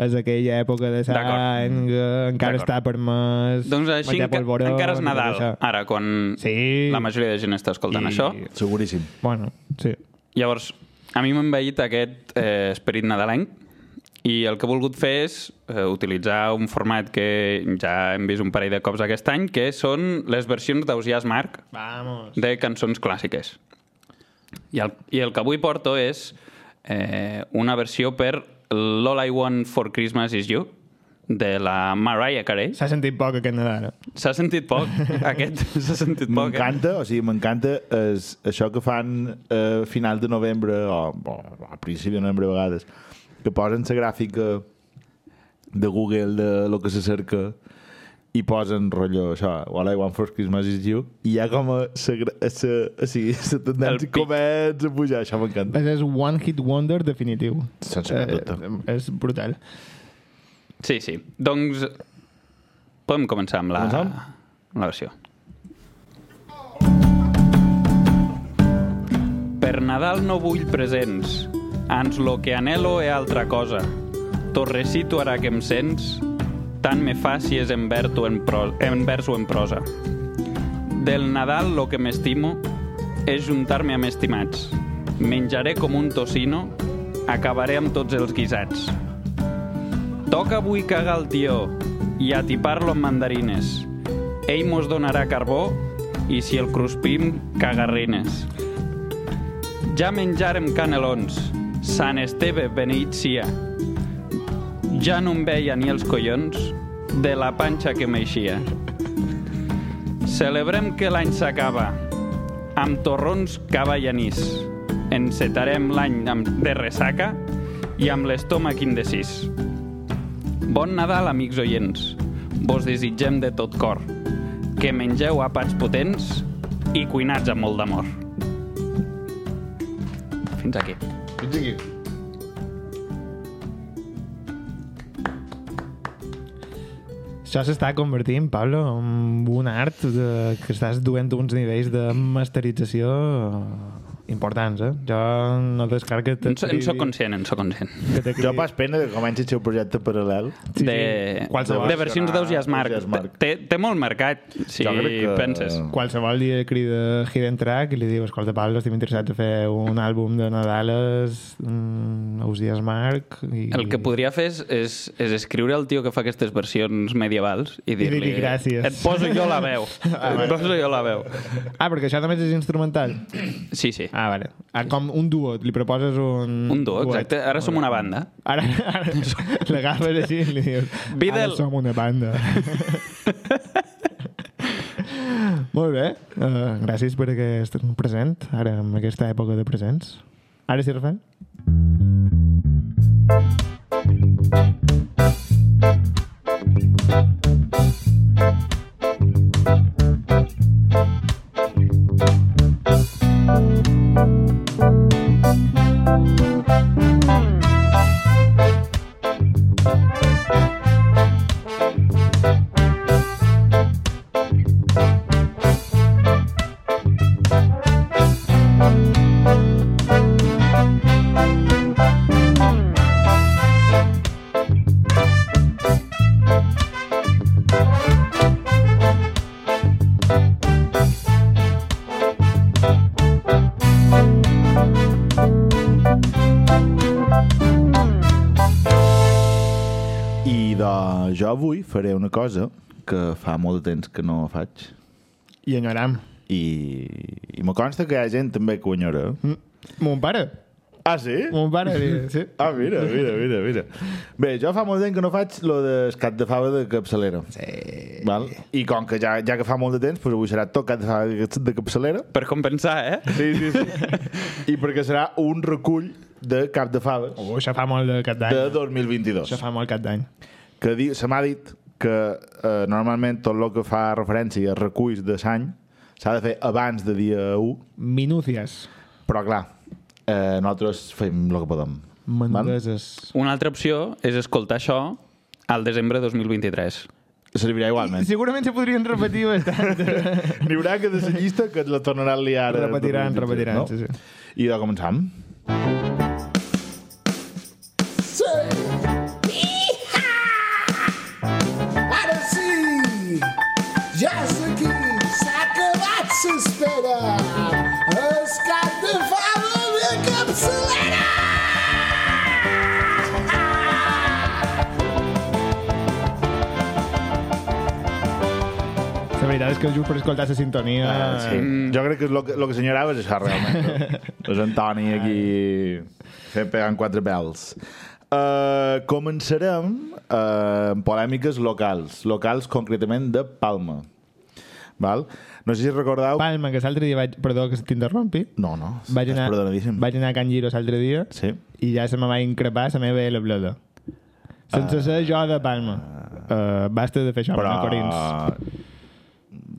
Speaker 2: és aquella època de l'any que encara
Speaker 4: D'acord.
Speaker 2: està permès
Speaker 4: Doncs així
Speaker 2: menjar
Speaker 4: enca
Speaker 2: polvoró,
Speaker 4: encara és
Speaker 2: tot
Speaker 4: Nadal,
Speaker 2: això.
Speaker 4: ara, quan
Speaker 2: Sí.
Speaker 4: la majoria de gent està escoltant
Speaker 2: I-
Speaker 4: això.
Speaker 3: Seguríssim.
Speaker 2: Bueno, sí.
Speaker 4: Llavors, a mi m'ha envaït aquest eh, esperit nadalenc i el que he volgut fer és eh, utilitzar un format que ja hem vist un parell de cops aquest any, que són les versions d'Ausias Marc
Speaker 2: Vamos.
Speaker 4: de cançons clàssiques. I el, I el que avui porto és eh, una versió per l'All I Want for Christmas Is You, de la Mariah Carey.
Speaker 2: S'ha sentit poc aquest Nadal. eh?
Speaker 4: S'ha sentit poc, aquest [LAUGHS] s'ha sentit poc. eh?
Speaker 3: M'encanta, o sigui, m'encanta es- això que fan eh, a final de novembre o, o a principi de novembre a vegades, que posen la gràfica de Google de lo que se cerca i posen rotllo això, All I want for Christmas is you i hi ha com a sa, gra- a sa, o sigui, sa
Speaker 4: El
Speaker 3: tendència
Speaker 4: pic.
Speaker 3: comença a pujar, això m'encanta.
Speaker 2: És one hit wonder definitiu. Eh,
Speaker 3: Sense cap dubte.
Speaker 2: és brutal.
Speaker 4: Sí, sí. Doncs Podem començar amb la,
Speaker 3: Començam?
Speaker 4: amb la versió. Per Nadal no vull presents, ans lo que anhelo e altra cosa. Torrecito ara que em sents, tant me fa si és en, verd o en, pro, en vers o en prosa. Del Nadal lo que m'estimo és juntar-me amb estimats. Menjaré com un tocino, acabaré amb tots els guisats. Toca avui cagar el tió i atipar-lo amb mandarines. Ell mos donarà carbó i si el cruspim, cagarrines. Ja menjarem canelons. Sant Esteve beneït sia. Ja no em veia ni els collons de la panxa que m'eixia. Celebrem que l'any s'acaba amb torrons, cava i anís. Encetarem l'any amb- de ressaca i amb l'estómac indecís. Bon Nadal, amics oients. Vos desitgem de tot cor que mengeu àpats potents i cuinats amb molt d'amor. Fins aquí.
Speaker 3: Fins aquí.
Speaker 2: Això s'està convertint, Pablo, en un art de, que estàs duent a uns nivells de masterització importants, eh? Jo no descargo que
Speaker 4: En, so, en soc
Speaker 2: t'acribi-
Speaker 4: conscient, en soc conscient.
Speaker 2: que t'acribi-
Speaker 3: Jo pas pena que comenci el seu projecte paral·lel.
Speaker 2: Sí, sí.
Speaker 4: De,
Speaker 2: Qualsevol.
Speaker 4: de versions d'Eusiasmarc.
Speaker 3: Eusiasmarc.
Speaker 4: Té, té molt mercat, si
Speaker 3: Jo crec que-
Speaker 4: penses.
Speaker 2: Qualsevol dia crida Hidden Track i li diu, escolta, Pablo, estem interessats a fer un àlbum de Nadales, mm, us dies Marc... I...
Speaker 4: El que podria fer és, és, és escriure al tio que fa aquestes versions medievals i dir-li...
Speaker 2: dir-li gràcies.
Speaker 4: Et poso jo la veu. Et poso jo la veu.
Speaker 2: Ah, perquè això també és instrumental.
Speaker 4: Sí, sí.
Speaker 2: Ah, vale. Ah, com un duo, li proposes un...
Speaker 4: Un duo, exacte. Ara som una banda.
Speaker 2: Ara, ara [LAUGHS] l'agafes així i li dius...
Speaker 4: Vidal.
Speaker 2: Ara som una banda. Molt bé. Uh, gràcies per aquest present, ara en aquesta època de presents. Ara sí, Rafael?
Speaker 3: I de... jo avui faré una cosa que fa molt de temps que no faig
Speaker 2: I enyoram.
Speaker 3: i, i me consta que hi ha gent també que ho enyora.
Speaker 2: Mm, Mon pare.
Speaker 3: Ah, sí?
Speaker 2: Mon pare, li, [LAUGHS] sí.
Speaker 3: Ah, mira, mira, mira, mira. Bé, jo fa molt temps que no faig lo del cap de fava de capçalera. Sí. Val? I com que ja, ja que fa molt de temps, doncs avui serà tot cap de fava de cap- de capçalera.
Speaker 4: Per compensar, eh?
Speaker 3: Sí, sí, sí. [LAUGHS] I perquè serà un recull de cap de faves
Speaker 2: Oh, això fa molt de cap d'any.
Speaker 3: de 2022.
Speaker 2: Això fa molt cap d'any.
Speaker 3: que di, se m'ha dit que eh, normalment tot el que fa referència a reculls de l'any s'ha de fer abans de dia 1,
Speaker 2: Minúcies.
Speaker 3: però clar, eh, nosaltres fem el que podem.
Speaker 2: Menudeses.
Speaker 4: Una altra opció és escoltar això al desembre de 2023.
Speaker 3: Servirà igualment.
Speaker 2: Segurament se podrien repetir bastant. [LAUGHS]
Speaker 3: N'hi haurà que de la llista que la tornaran a liar. eh, ara
Speaker 2: Repetiran,
Speaker 3: 2023,
Speaker 2: repetiran, sí, sí.
Speaker 3: I de començam.
Speaker 5: Para sí, Jessica, sacabat s'espera. Es cap de fava de capçalera!
Speaker 2: La veritat és que just per escoltar la sintonia...
Speaker 3: Ah, sí. Jo crec que és el que, lo que senyalava és això, realment.
Speaker 2: [LAUGHS]
Speaker 3: és Antoni aquí fent pegant quatre pèls. Uh, començarem uh, amb polèmiques locals, locals concretament de Palma. Val? No sé si recordeu...
Speaker 2: Palma, que l'altre dia vaig... Perdó que t'interrompi.
Speaker 3: no, no,
Speaker 2: Vaig anar,
Speaker 3: és perdonadíssim.
Speaker 2: vaig anar a Can Giro l'altre dia
Speaker 3: Sí.
Speaker 2: i ja se me va increpar la meva L-Bloda. Sense ser jo de Palma. Uh, basta de fer això,
Speaker 3: Però...
Speaker 2: Ah. però... Corins.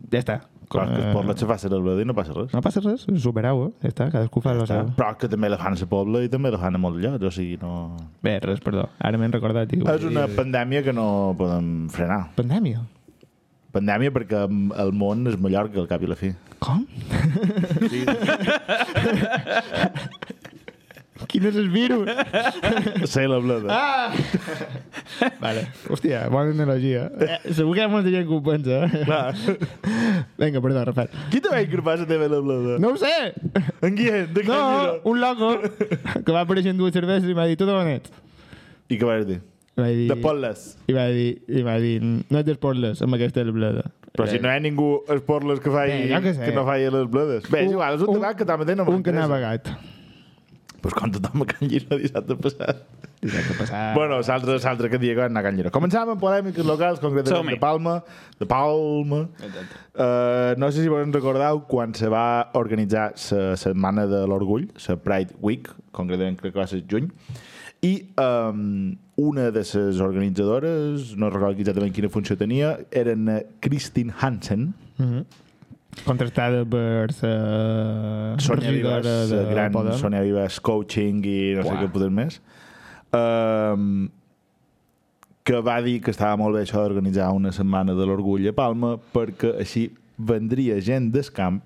Speaker 2: Ja està.
Speaker 3: Clar, que es pot la xafar ser el Bledi, eh, no passa res.
Speaker 2: eh, No passa res, superau, eh? Ja està, cadascú fa la seva.
Speaker 3: Però que també la fan a la Pobla i també la fan a molts llocs, o sigui, no...
Speaker 2: Bé, res, perdó. Ara m'he recordat. I...
Speaker 3: És una pandèmia que no podem frenar.
Speaker 2: Pandèmia.
Speaker 3: Pandèmia perquè el món és Mallorca, al cap i a la [LAUGHS] fi.
Speaker 2: Com? [LAUGHS] Quin és el virus?
Speaker 3: Sé la blada.
Speaker 2: Ah! vale. Hòstia, bona analogia. Eh, segur que hi ha molta gent que ho pensa. eh?
Speaker 3: Clar.
Speaker 2: Vinga, perdó, Rafael.
Speaker 3: Qui te va incorporar la teva la blada?
Speaker 2: No ho sé!
Speaker 3: En Guillem, de
Speaker 2: No,
Speaker 3: Canyera.
Speaker 2: un loco que va aparèixer amb dues cerveses i m'ha dit, tu d'on ets?
Speaker 3: I què vas dir?
Speaker 2: I vaig dir,
Speaker 3: De Potles.
Speaker 2: I va dir, i va dir no ets d'Esportles, amb aquesta és la blada.
Speaker 3: Però si no hi ha ningú a Esportles que, faci,
Speaker 2: Bé, jo què sé.
Speaker 3: que no faci les bledes. Bé, és igual, és un,
Speaker 2: Un-
Speaker 3: debat que també té, no
Speaker 2: un que
Speaker 3: m'interessa.
Speaker 2: n'ha vagat.
Speaker 3: Pues com tothom [LAUGHS] a Can Lliro dissabte passat.
Speaker 2: Dissabte passat.
Speaker 3: Bueno, l'altre, l'altre que dia que van anar a Can Lliro. Començàvem amb polèmiques locals, concretament
Speaker 4: Som-hi.
Speaker 3: de Palma. De Palma. Uh, no sé si vos en recordeu quan se va organitzar la setmana de l'orgull, la Pride Week, concretament crec que va ser juny, i um, una de les organitzadores, no recordo exactament quina funció tenia, eren eh, Christine Hansen,
Speaker 2: Contrastada per la
Speaker 3: Sònia
Speaker 2: regidora
Speaker 3: Vives,
Speaker 2: de
Speaker 3: eh, gran
Speaker 2: Podem.
Speaker 3: Sònia Vives, coaching i no sé
Speaker 2: Buah.
Speaker 3: què poder més. Um, que va dir que estava molt bé això d'organitzar una setmana de l'orgull a Palma perquè així vendria gent del camp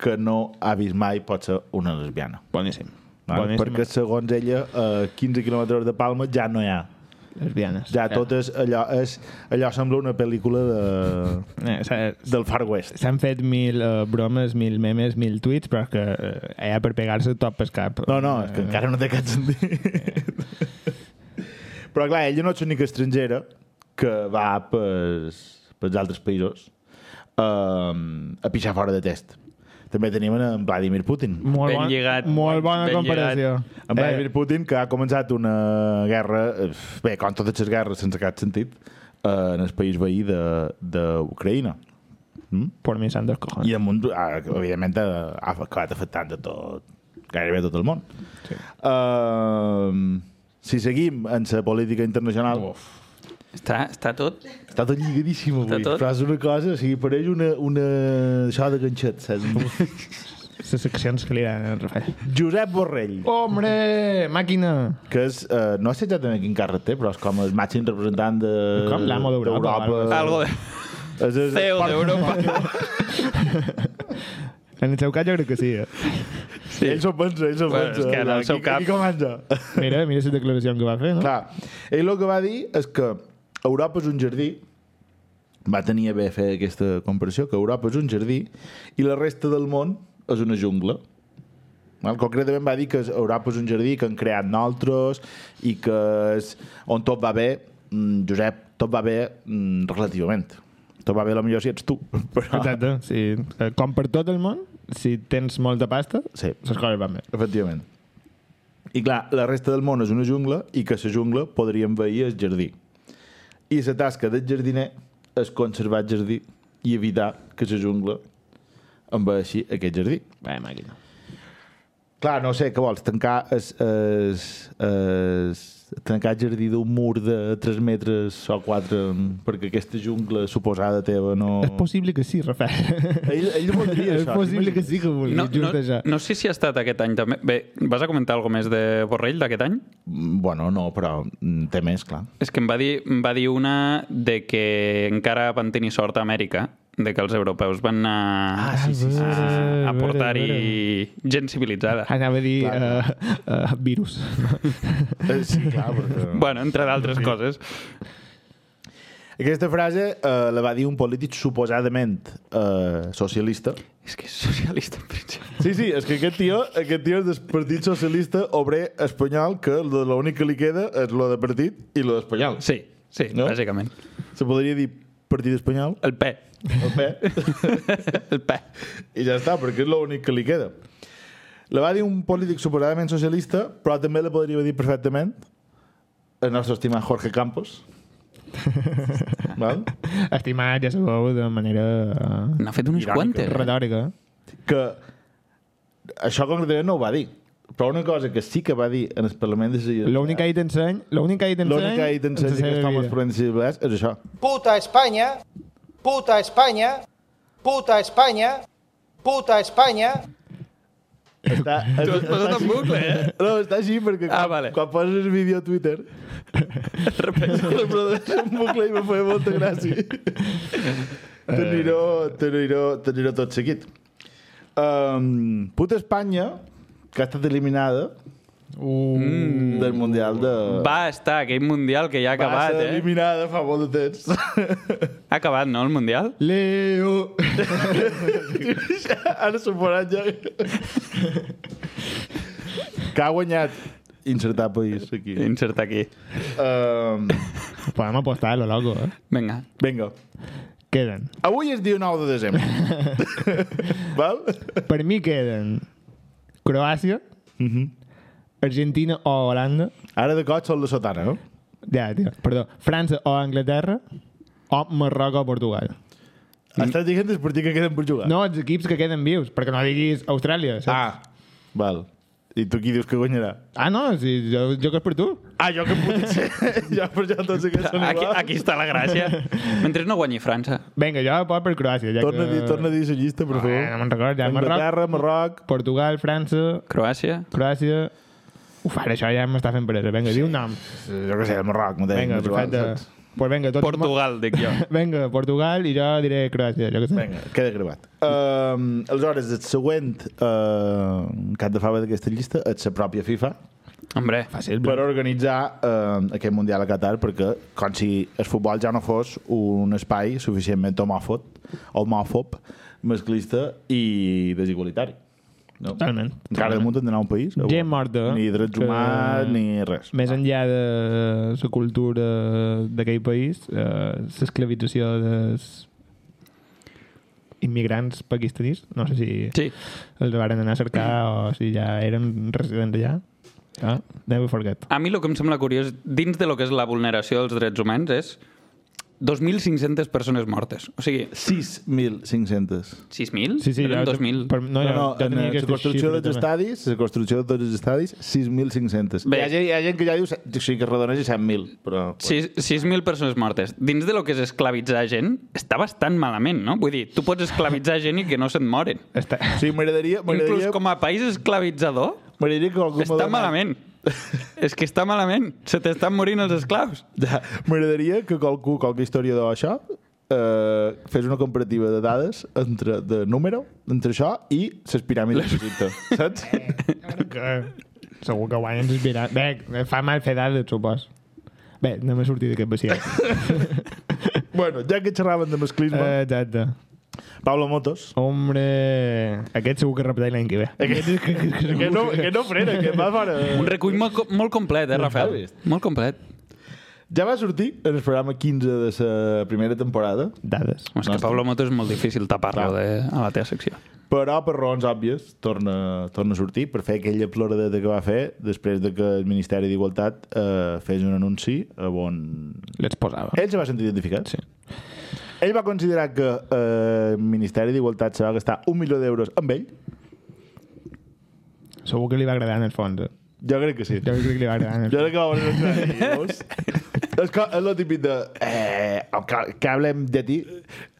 Speaker 3: que no ha vist mai pot ser una lesbiana.
Speaker 2: Boníssim.
Speaker 3: Val?
Speaker 2: Boníssim.
Speaker 3: Perquè segons ella, a 15 quilòmetres de Palma ja no hi ha.
Speaker 2: Lesbianes. Eh,
Speaker 3: Ja tot és allò, és, allò sembla una pel·lícula de,
Speaker 2: Eh, s'ha-
Speaker 3: del Far West.
Speaker 2: S'han fet mil eh, bromes, mil memes, mil tuits, però és que eh, allà per pegar-se tot pel cap.
Speaker 3: No, no, és que encara no té cap sentit. Però clar, ella no és l'única estrangera que va pels, pels altres països um, a pixar fora de test. També tenim en Vladimir Putin.
Speaker 2: Molt
Speaker 4: Ben lligat.
Speaker 2: Molt bona
Speaker 4: Ben
Speaker 2: comparació. Eh,
Speaker 3: En Vladimir Putin, que ha començat una guerra, eh, bé, com totes les guerres, sense cap sentit, eh, en el país veí de- d'Ucraïna. Mm?
Speaker 2: Por mi santos cojones.
Speaker 3: I damunt, ah, evidentment, ha ha acabat afectant a tot, gairebé a tot el món. Sí. Uh, si seguim en la política internacional, Uf.
Speaker 4: Està, està tot?
Speaker 3: està tot lligadíssim avui.
Speaker 4: tot?
Speaker 3: Però és una cosa, o sigui, pareix una, una... això de ganxet, saps?
Speaker 2: Les seccions que li dan al Rafael.
Speaker 3: Josep Borrell,
Speaker 2: Hombre, màquina!
Speaker 3: que és, eh, no sé exactament quin càrrec té, però és com el màxim representant de...
Speaker 2: Com l'amo d'Europa, algo
Speaker 3: d'Europa.
Speaker 4: Algo de...
Speaker 3: És el
Speaker 4: CEO
Speaker 3: porta-
Speaker 4: d'Europa.
Speaker 2: En el seu cas jo crec que sí. Eh?
Speaker 3: Sí. Ell s'ho pensa, ell s'ho
Speaker 4: Bueno,
Speaker 3: pensa.
Speaker 4: és que en el
Speaker 3: Aquí-
Speaker 4: seu cap-
Speaker 3: Aquí comença.
Speaker 2: Mira, mira la declaració que va fer, no?
Speaker 3: Clar, ell el que va dir és que Europa és un jardí, va tenir a bé fer aquesta comparació, que Europa és un jardí i la resta del món és una jungla. Val? Concretament va dir que Europa és un jardí que han creat nosaltres i que és on tot va bé, mm, Josep, tot va bé mm, relativament. Tot va bé, la millor si ets tu. [LAUGHS] Però...
Speaker 2: Exacte. Sí. Eh, Com per tot el món, si tens molta pasta,
Speaker 3: Sí.
Speaker 2: les coses van bé.
Speaker 3: Efectivament. I clar, la resta del món és una jungla i que la jungla podria envair el jardí. I la tasca del jardiner és conservar el jardí i evitar que la jungla envaeixi aquest jardí.
Speaker 2: Bé, màquina.
Speaker 3: Clar, no sé, què vols? Tancar es, es, es, tancar el jardí d'un mur de 3 metres o 4 perquè aquesta jungla suposada teva no...
Speaker 2: És possible que sí, Rafael.
Speaker 3: Ell, ell
Speaker 2: [LAUGHS]
Speaker 3: voldria
Speaker 2: és
Speaker 3: això.
Speaker 2: possible que sí que vulgui,
Speaker 4: No, no,
Speaker 2: just això.
Speaker 4: no sé si ha estat aquest any també. Bé, vas a comentar alguna més de Borrell d'aquest any?
Speaker 3: Bueno, no, però mm, té més, clar.
Speaker 4: És que em va dir, em va dir una de que encara van tenir sort a Amèrica, de que els europeus van anar
Speaker 3: Ah, sí, sí, sí, sí, sí.
Speaker 4: a, a
Speaker 2: veure,
Speaker 4: portar-hi gent civilitzada.
Speaker 3: Ah,
Speaker 2: Anava a dir uh,
Speaker 3: Clar.
Speaker 2: uh, virus. [LAUGHS]
Speaker 3: Eh, Sí, clar, perquè...
Speaker 4: [LAUGHS] Bueno, entre d'altres coses.
Speaker 3: Aquesta frase eh, la va dir un polític suposadament eh, socialista.
Speaker 4: És que és socialista, en principi.
Speaker 3: Sí, sí, és que aquest tio, aquest tio és del Partit Socialista Obrer Espanyol, que lo- l'únic que li queda és lo de partit i lo d'espanyol.
Speaker 4: Sí, sí,
Speaker 3: No?
Speaker 4: no? bàsicament.
Speaker 3: Se podria dir Partit Espanyol,
Speaker 4: El P.
Speaker 3: el
Speaker 4: [LAUGHS]
Speaker 3: P,
Speaker 4: El P.
Speaker 3: i ja està, perquè és l'únic que li queda. La va dir un polític suposadament socialista, però també la podria dir perfectament el nostre estimat Jorge
Speaker 4: [LAUGHS]
Speaker 3: Campos. Val?
Speaker 2: Estimat, ja sabeu, de manera uh,
Speaker 4: N'ha fet unes
Speaker 3: Irònica.
Speaker 4: quantes. eh?
Speaker 2: retòrica.
Speaker 3: que això concretament no ho va dir però una cosa que sí que va dir en el Parlament de Sevilla
Speaker 2: L'únic que hi t'enseny... L'únic que hi t'enseny...
Speaker 3: l'únic que hi t'ensenya que està en el Parlament de Sevilla és això
Speaker 6: Puta España, puta España, puta España, puta España.
Speaker 3: Està,
Speaker 4: T'ho has posat en bucle, eh?
Speaker 3: No, està així perquè
Speaker 4: Ah,
Speaker 3: quan-
Speaker 4: vale.
Speaker 3: quan poses el vídeo a Twitter
Speaker 4: Repeteix.
Speaker 3: reprodueix en bucle i me feia molta gràcia.
Speaker 4: Eh.
Speaker 3: T'anirò t'anirò- t'anirò tot seguit. Um, puta Espanya, que ha estat eliminada
Speaker 2: Uh,
Speaker 3: mm. del Mundial de...
Speaker 4: [LAUGHS] Va estar aquell Mundial que ja ha
Speaker 3: va
Speaker 4: acabat,
Speaker 3: ser
Speaker 4: eh?
Speaker 3: eliminada fa molt de
Speaker 4: [LAUGHS]
Speaker 3: temps.
Speaker 4: Ha acabat, no, el Mundial?
Speaker 2: Leo!
Speaker 3: Ara s'ho faran ja. eh? que ha guanyat insertar país aquí.
Speaker 4: Inserta aquí.
Speaker 3: Um,
Speaker 2: Podem apostar a lo loco, eh?
Speaker 4: Vinga.
Speaker 3: vinga.
Speaker 2: Queden.
Speaker 3: Avui és dia 9 de
Speaker 4: [LAUGHS]
Speaker 3: desembre. Val?
Speaker 2: Per mi queden Croàcia,
Speaker 3: Mhm.
Speaker 2: Argentina o Holanda,
Speaker 3: Ara de cop són la sotana, no?
Speaker 2: ja, tio, perdó, França o Anglaterra, o Marroc o Portugal.
Speaker 3: Mm. Estàs dient els partits que queden per jugar?
Speaker 2: No, els equips que queden vius, perquè no diguis Austràlia, saps?
Speaker 3: Ah, val. I tu qui dius que guanyarà?
Speaker 2: Ah, no, sí, jo, jo que és per tu.
Speaker 3: Ah, jo que potser... jo per jo tots aquests són
Speaker 4: Aquí,
Speaker 3: iguals.
Speaker 4: aquí està la
Speaker 2: [LAUGHS]
Speaker 4: gràcia. Mentre no guanyi França.
Speaker 2: Vinga, jo pot per Croàcia. Ja
Speaker 3: Torna, a
Speaker 2: que...
Speaker 3: dir, torna a dir la llista, per favor.
Speaker 2: Ah, no me'n record, ja, Marroc,
Speaker 3: Anglaterra, Marroc...
Speaker 2: Portugal, França,
Speaker 4: Croàcia.
Speaker 2: Croàcia... Uf, ara això ja m'està fent presa. Vinga, sí. di un nom.
Speaker 3: Jo què sé, el Marroc, m'ho deia.
Speaker 2: Vinga, perfecte. Pues vinga, tots...
Speaker 4: Portugal, dic jo.
Speaker 2: Vinga, Portugal i jo diré Croàcia, jo què sé.
Speaker 3: Vinga, queda gravat. Um, aleshores, el següent uh, cap de fava d'aquesta llista és la pròpia FIFA
Speaker 4: Hombre,
Speaker 2: Fàcil,
Speaker 3: per
Speaker 2: però...
Speaker 3: organitzar uh, aquest Mundial a Qatar perquè com si el futbol ja no fos un espai suficientment homòfob, homòfob masclista i desigualitari. No?
Speaker 2: Totalment.
Speaker 3: Encara de munt han d'anar a un país.
Speaker 2: Ah,
Speaker 3: o-
Speaker 2: Gent morta.
Speaker 3: Ni drets
Speaker 2: que-
Speaker 3: humans, ni res.
Speaker 2: Més enllà de la cultura d'aquell país, eh, l'esclavització dels immigrants pakistanis, no sé si
Speaker 4: sí.
Speaker 2: els varen anar a cercar o si ja eren residents allà. Ah, never forget.
Speaker 4: A mi el que em sembla curiós, dins de lo que és la vulneració dels drets humans, és 2.500 persones mortes. O sigui,
Speaker 3: 6.500.
Speaker 4: 6.000?
Speaker 2: Sí, sí,
Speaker 4: Eren 2.000.
Speaker 2: Per, no,
Speaker 3: No,
Speaker 2: jo,
Speaker 3: no,
Speaker 2: jo
Speaker 3: en
Speaker 2: tenia
Speaker 3: la
Speaker 2: aquesta
Speaker 3: construcció
Speaker 2: xifra
Speaker 3: dels
Speaker 2: també.
Speaker 3: estadis, la construcció de tots els estadis, 6.500. Hi,
Speaker 4: Bé.
Speaker 3: ha gent- hi ha gent que ja diu, o sigui, que es redoneix a 7.000, però...
Speaker 4: Sis- 6.000 persones mortes. Dins de lo que és esclavitzar gent, està bastant malament, no? Vull dir, tu pots esclavitzar gent i que no se't moren.
Speaker 2: Està...
Speaker 3: Sí, m'agradaria...
Speaker 4: Inclús
Speaker 3: M'agradaria
Speaker 4: com a país esclavitzador,
Speaker 3: m'agradaria que algú... me
Speaker 4: està
Speaker 3: donés-
Speaker 4: malament.
Speaker 3: [LAUGHS]
Speaker 4: És que està malament. Se t'estan morint els esclaus.
Speaker 3: Ja, m'agradaria que qualcú, qualque historiador això, eh, fes una comparativa de dades entre, de número, entre això i les piràmides
Speaker 2: [LAUGHS]
Speaker 3: d'Egipte, saps?
Speaker 2: [LAUGHS] que segur que guanyen inspirat. Bé, fa mal fer dades, supos. Bé, no m'he sortit d'aquest
Speaker 3: [LAUGHS]
Speaker 2: vaciat.
Speaker 3: bueno, ja que xerraven de masclisme, eh...
Speaker 2: Exacte.
Speaker 3: Pablo Motos...
Speaker 2: Hombre... Aquest segur que repeteix l'any [LAUGHS] que ve. Aquest, és que, que, que,
Speaker 3: Que no, que no frena, que va
Speaker 2: [LAUGHS]
Speaker 3: fora.
Speaker 4: Un recull molt, co- molt complet, eh, Rafael?
Speaker 3: vist.
Speaker 4: Molt complet.
Speaker 3: Ja va sortir en el programa 15 de la primera temporada,
Speaker 2: Dades.
Speaker 4: Home, És que Pablo Moto és molt difícil tapar-lo de- a la teva secció.
Speaker 3: Però per raons òbvies torna, torna a sortir per fer aquella ploradeta que va fer després de que el Ministeri d'Igualtat eh, fes un anunci a on...
Speaker 2: Les posava.
Speaker 3: Ell se va sentir identificat.
Speaker 2: Eh, Sí.
Speaker 3: Ell va considerar que eh, el Ministeri d'Igualtat se va gastar un milió d'euros amb ell.
Speaker 2: Segur que li va agradar en el fons. eh?
Speaker 3: Jo crec que sí.
Speaker 2: Jo crec que li va agradar en el
Speaker 3: Jo
Speaker 2: fons.
Speaker 3: crec que va voler entrar veus? És, que, és lo típic de... Eh, que, que hablem de ti.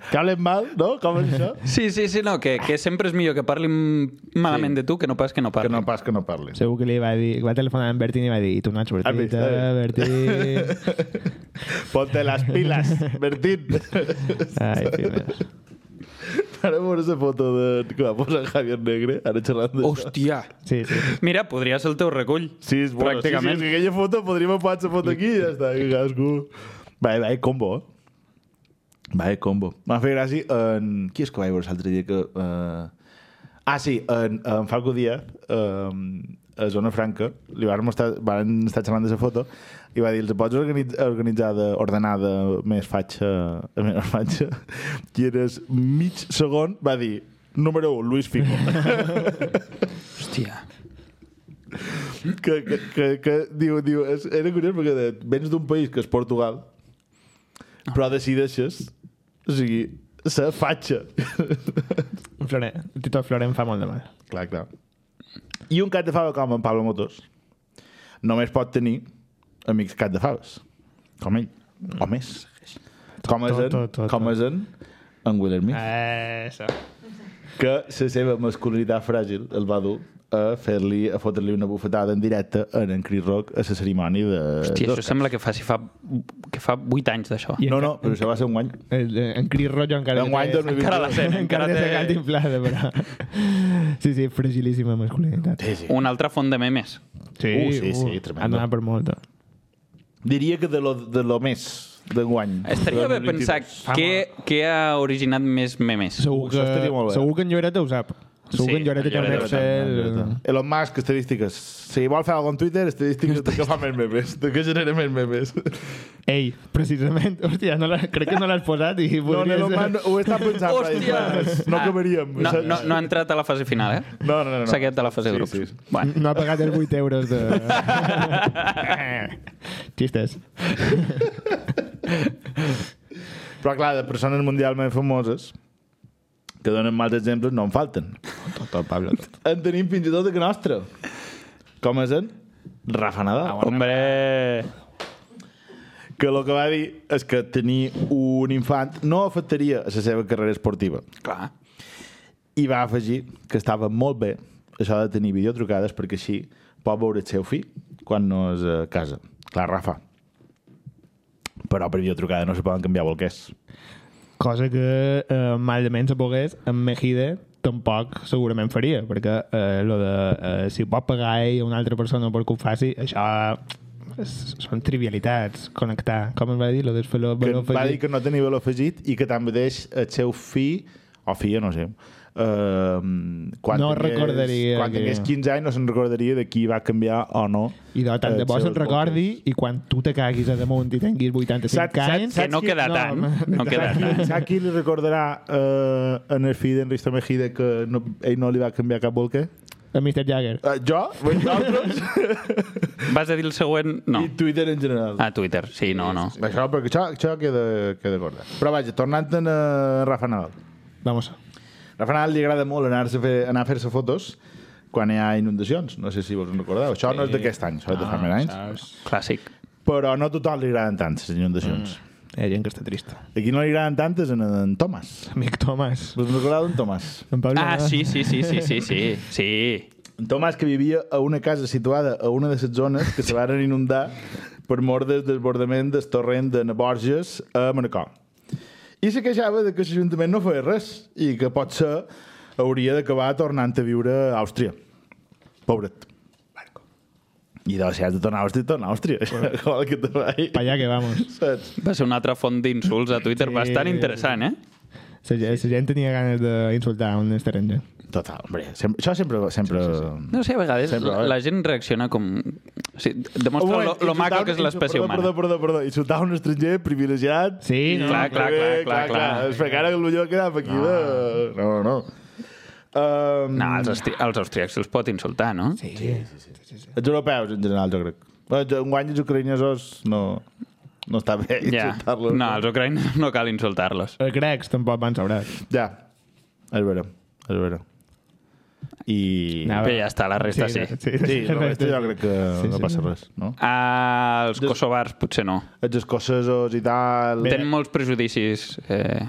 Speaker 3: Que hablem mal, no? Com és això?
Speaker 4: Sí, sí, sí, no, que, que sempre és millor que parlin malament sí. de tu que no pas que no
Speaker 3: Que
Speaker 4: parlin.
Speaker 3: no pas que no parlis.
Speaker 2: Segur que li va dir... Va telefonar en Bertín i va dir... Tu no ets
Speaker 3: Ah, bé,
Speaker 2: Bertín,
Speaker 3: està bé.
Speaker 2: Bertín...
Speaker 3: [LAUGHS] Ponte las pilas, Bertín.
Speaker 2: Ai, filles.
Speaker 3: Ara veure la foto de... que va posar Javier Negre, ara xerrant d'això.
Speaker 4: Hòstia!
Speaker 2: Sí, sí.
Speaker 4: Mira, podria ser el teu recull.
Speaker 3: Sí, és bueno, sí, sí, és
Speaker 4: pràcticament.
Speaker 3: que aquella foto podríem apar la foto aquí i ja està, que cadascú... Va, va, combo, eh? Va, combo. M'ha fet gràcia en... Qui és que va veure l'altre dia que... Uh... Ah, sí, en, en Falco Díaz, um, a Zona Franca, li van, mostrar, van estar xerrant de la foto i va dir, els pots organitzar, organitzar de, ordenar de més fatxa, de menys fatxa? [LAUGHS] Qui eres mig segon, va dir, número 1, Luis Fico.
Speaker 4: Hòstia.
Speaker 3: que, que, que, que diu, diu, és, era curiós perquè de, vens d'un país que és Portugal,
Speaker 2: Ah.
Speaker 3: però decideixes, o sigui, se fatxa.
Speaker 2: Florent, el Tito Florent fa molt de mal.
Speaker 3: clar, clar. I un cat de fava com en Pablo Motos només pot tenir amics cat de faves, com ell, o més. Com és
Speaker 2: tot,
Speaker 3: en,
Speaker 2: tot,
Speaker 3: com
Speaker 2: tot. Ah.
Speaker 3: és en, en Will Smith,
Speaker 2: Eso.
Speaker 3: que la seva masculinitat fràgil el va dur a fer-li, a fotre-li una bufetada en directe en en Chris Rock a la cerimònia de...
Speaker 4: Hòstia,
Speaker 3: d'Oscars.
Speaker 4: això sembla que faci fa, que fa 8 anys d'això.
Speaker 2: I
Speaker 3: No, no, però això va ser un guany.
Speaker 2: El- eh, En Chris Rock jo encara...
Speaker 3: En guany
Speaker 4: Encara la
Speaker 3: 2022.
Speaker 4: sent,
Speaker 2: Encara
Speaker 4: encara
Speaker 2: té la
Speaker 4: té...
Speaker 2: inflada, però... Sí, sí, fragilíssima masculinitat.
Speaker 3: Sí, sí.
Speaker 4: Una altra font de memes.
Speaker 3: Uh, sí, sí, tremendo.
Speaker 2: Ha donat per molt. eh.
Speaker 3: Diria que de lo, de lo més d'enguany.
Speaker 4: Estaria bé pensar què, què ha originat més memes.
Speaker 2: Segur
Speaker 3: Això
Speaker 2: que,
Speaker 3: estaria molt bé.
Speaker 2: segur que en Lloreta ho sap. Segur
Speaker 4: Sí,
Speaker 2: que en Lloreta té un
Speaker 4: en Lloreta
Speaker 2: Excel...
Speaker 3: Elon Musk, estadístiques. Si vol fer alguna cosa en Twitter, estadístiques de què fa més memes, de què genera més memes.
Speaker 2: Ei, precisament, [LAUGHS] hòstia, no la, crec que no l'has posat i
Speaker 3: No, no,
Speaker 2: podries...
Speaker 3: Elon Musk, ho he estat pensant.
Speaker 4: Hòstia!
Speaker 3: No
Speaker 4: Ah,
Speaker 3: acabaríem.
Speaker 4: No, no, no ha entrat a la fase final, eh?
Speaker 3: No, no, no, no.
Speaker 4: S'ha quedat a la fase
Speaker 3: Sí,
Speaker 4: de grups.
Speaker 3: sí, sí.
Speaker 4: Bueno.
Speaker 2: no ha pagat els 8 euros de... [LAUGHS] Xistes.
Speaker 3: Però clar, de persones mundialment famoses que donen mals exemples no en falten. Tot, tot, Pablo, tot. En tenim fins i tot de que nostre. Com és en? Rafa
Speaker 4: Ah,
Speaker 3: Nadal.
Speaker 4: Hombre...
Speaker 3: que el que va dir és que tenir un infant no afectaria la seva carrera esportiva.
Speaker 4: Clar.
Speaker 3: I va afegir que estava molt bé això de tenir videotrucades perquè així pot veure el seu fill quan no és a casa. Clar, Rafa. Però per videotrucada no se poden canviar bolquers.
Speaker 2: Cosa que eh, malament se pogués, en Mejide tampoc segurament faria, perquè eh, lo de eh, si ho pot pagar ell a una altra persona perquè ho faci, això és, són trivialitats, connectar. Com em va dir? Lo del feló,
Speaker 3: Que
Speaker 2: valor
Speaker 3: va
Speaker 2: afegit?
Speaker 3: dir que no tenia valor afegit i que tanmateix el seu fill o filla, no sé, eh, quan
Speaker 2: No
Speaker 3: tingués,
Speaker 2: recordaria
Speaker 3: quan
Speaker 2: que-
Speaker 3: tingués 15 anys no se'n recordaria de qui va canviar o no
Speaker 2: I de tant de
Speaker 3: els
Speaker 2: bo se'n
Speaker 3: seus
Speaker 2: recordi i quan tu te caguis a damunt i tinguis 85
Speaker 3: Saps- saps-
Speaker 2: anys...
Speaker 4: Que no
Speaker 3: qui-
Speaker 4: queda
Speaker 2: no,
Speaker 4: tant.
Speaker 2: home.
Speaker 4: No queda
Speaker 3: Saps
Speaker 4: tant.
Speaker 3: qui- Saps qui li recordarà eh, en el fill d'Enristo Mejide que no, ell no li va canviar cap bolquer?
Speaker 2: El Mr. Jagger.
Speaker 3: Eh, jo? [LAUGHS] Vosaltres?
Speaker 4: Vas a dir el següent? No.
Speaker 3: I Twitter en general.
Speaker 4: A Twitter. Sí, no, no.
Speaker 3: Això, perquè això, això queda, queda corda. Però vaja, tornant a Rafa Nadal.
Speaker 2: Vamos.
Speaker 3: Rafa Nadal li agrada molt anar a fer, anar a fer-se fotos quan hi ha inundacions. No sé si vos en recordeu. Això no és d'aquest any, Ah, això és de fa més anys.
Speaker 4: Clàssic.
Speaker 3: Però no a tothom li agraden tant les inundacions. Mm.
Speaker 2: Hi ha gent que està trista.
Speaker 3: Aquí no li agraden tantes en, en Tomàs.
Speaker 2: Amic Tomàs.
Speaker 3: Vos en recordeu d'en Tomàs?
Speaker 2: En Pablo,
Speaker 4: Ah, sí, sí, sí, sí, sí, sí. Sí.
Speaker 3: En Tomàs, que vivia a una casa situada a una de les zones que se varen inundar per mort del desbordament del torrent de Naborges a Manacor. I se queixava de que l'Ajuntament no feia res i que potser hauria d'acabar tornant a viure a Àustria. Pobret. I doncs, si has de tornar a Àustria, torna a Àustria. [LAUGHS] Igual que te vagi.
Speaker 2: Pa allá que vamos.
Speaker 3: Saps?
Speaker 4: Va ser una altra font d'insults a Twitter
Speaker 2: Sí.
Speaker 4: bastant interessant, eh?
Speaker 2: La gent, la gent tenia ganes d'insultar a un estranger.
Speaker 3: Total, hombre. Sempre, això sempre... sempre... Sí, sí, sí.
Speaker 4: No sé, a vegades
Speaker 3: Sempre,
Speaker 4: la,
Speaker 3: eh?
Speaker 4: la gent reacciona com... O sigui, demostra lo, lo maco que és l'espècie humana.
Speaker 3: Perdó, perdó, perdó. Insultar un estranger privilegiat
Speaker 2: Sí, no?
Speaker 4: Clar, clar, clar,
Speaker 3: Eh,
Speaker 4: clar, clar.
Speaker 3: És perquè ara que potser queda per aquí de... No, no, no. Um,
Speaker 4: No, els, austri els austríacs els pot insultar, no? Mm. Sí.
Speaker 3: Els europeus, en general, jo crec. Bé, jo- En guany els ucraïnesos no, no està bé
Speaker 4: Ja.
Speaker 3: insultar-los.
Speaker 4: No, els ucraïns [LAUGHS] no cal insultar-los.
Speaker 2: Els grecs tampoc van sobrat.
Speaker 3: Ja, és vera, és vera. I...
Speaker 2: No.
Speaker 3: No.
Speaker 2: Ah,
Speaker 4: Bé,
Speaker 2: va.
Speaker 4: ja està, la resta sí.
Speaker 3: Sí, la resta jo crec que
Speaker 2: Sí,
Speaker 3: sí, no
Speaker 2: sí.
Speaker 3: passa res, no?
Speaker 4: Ah, els kosovars potser no.
Speaker 3: Els escocesos i tal...
Speaker 4: Tenen molts prejudicis. Eh...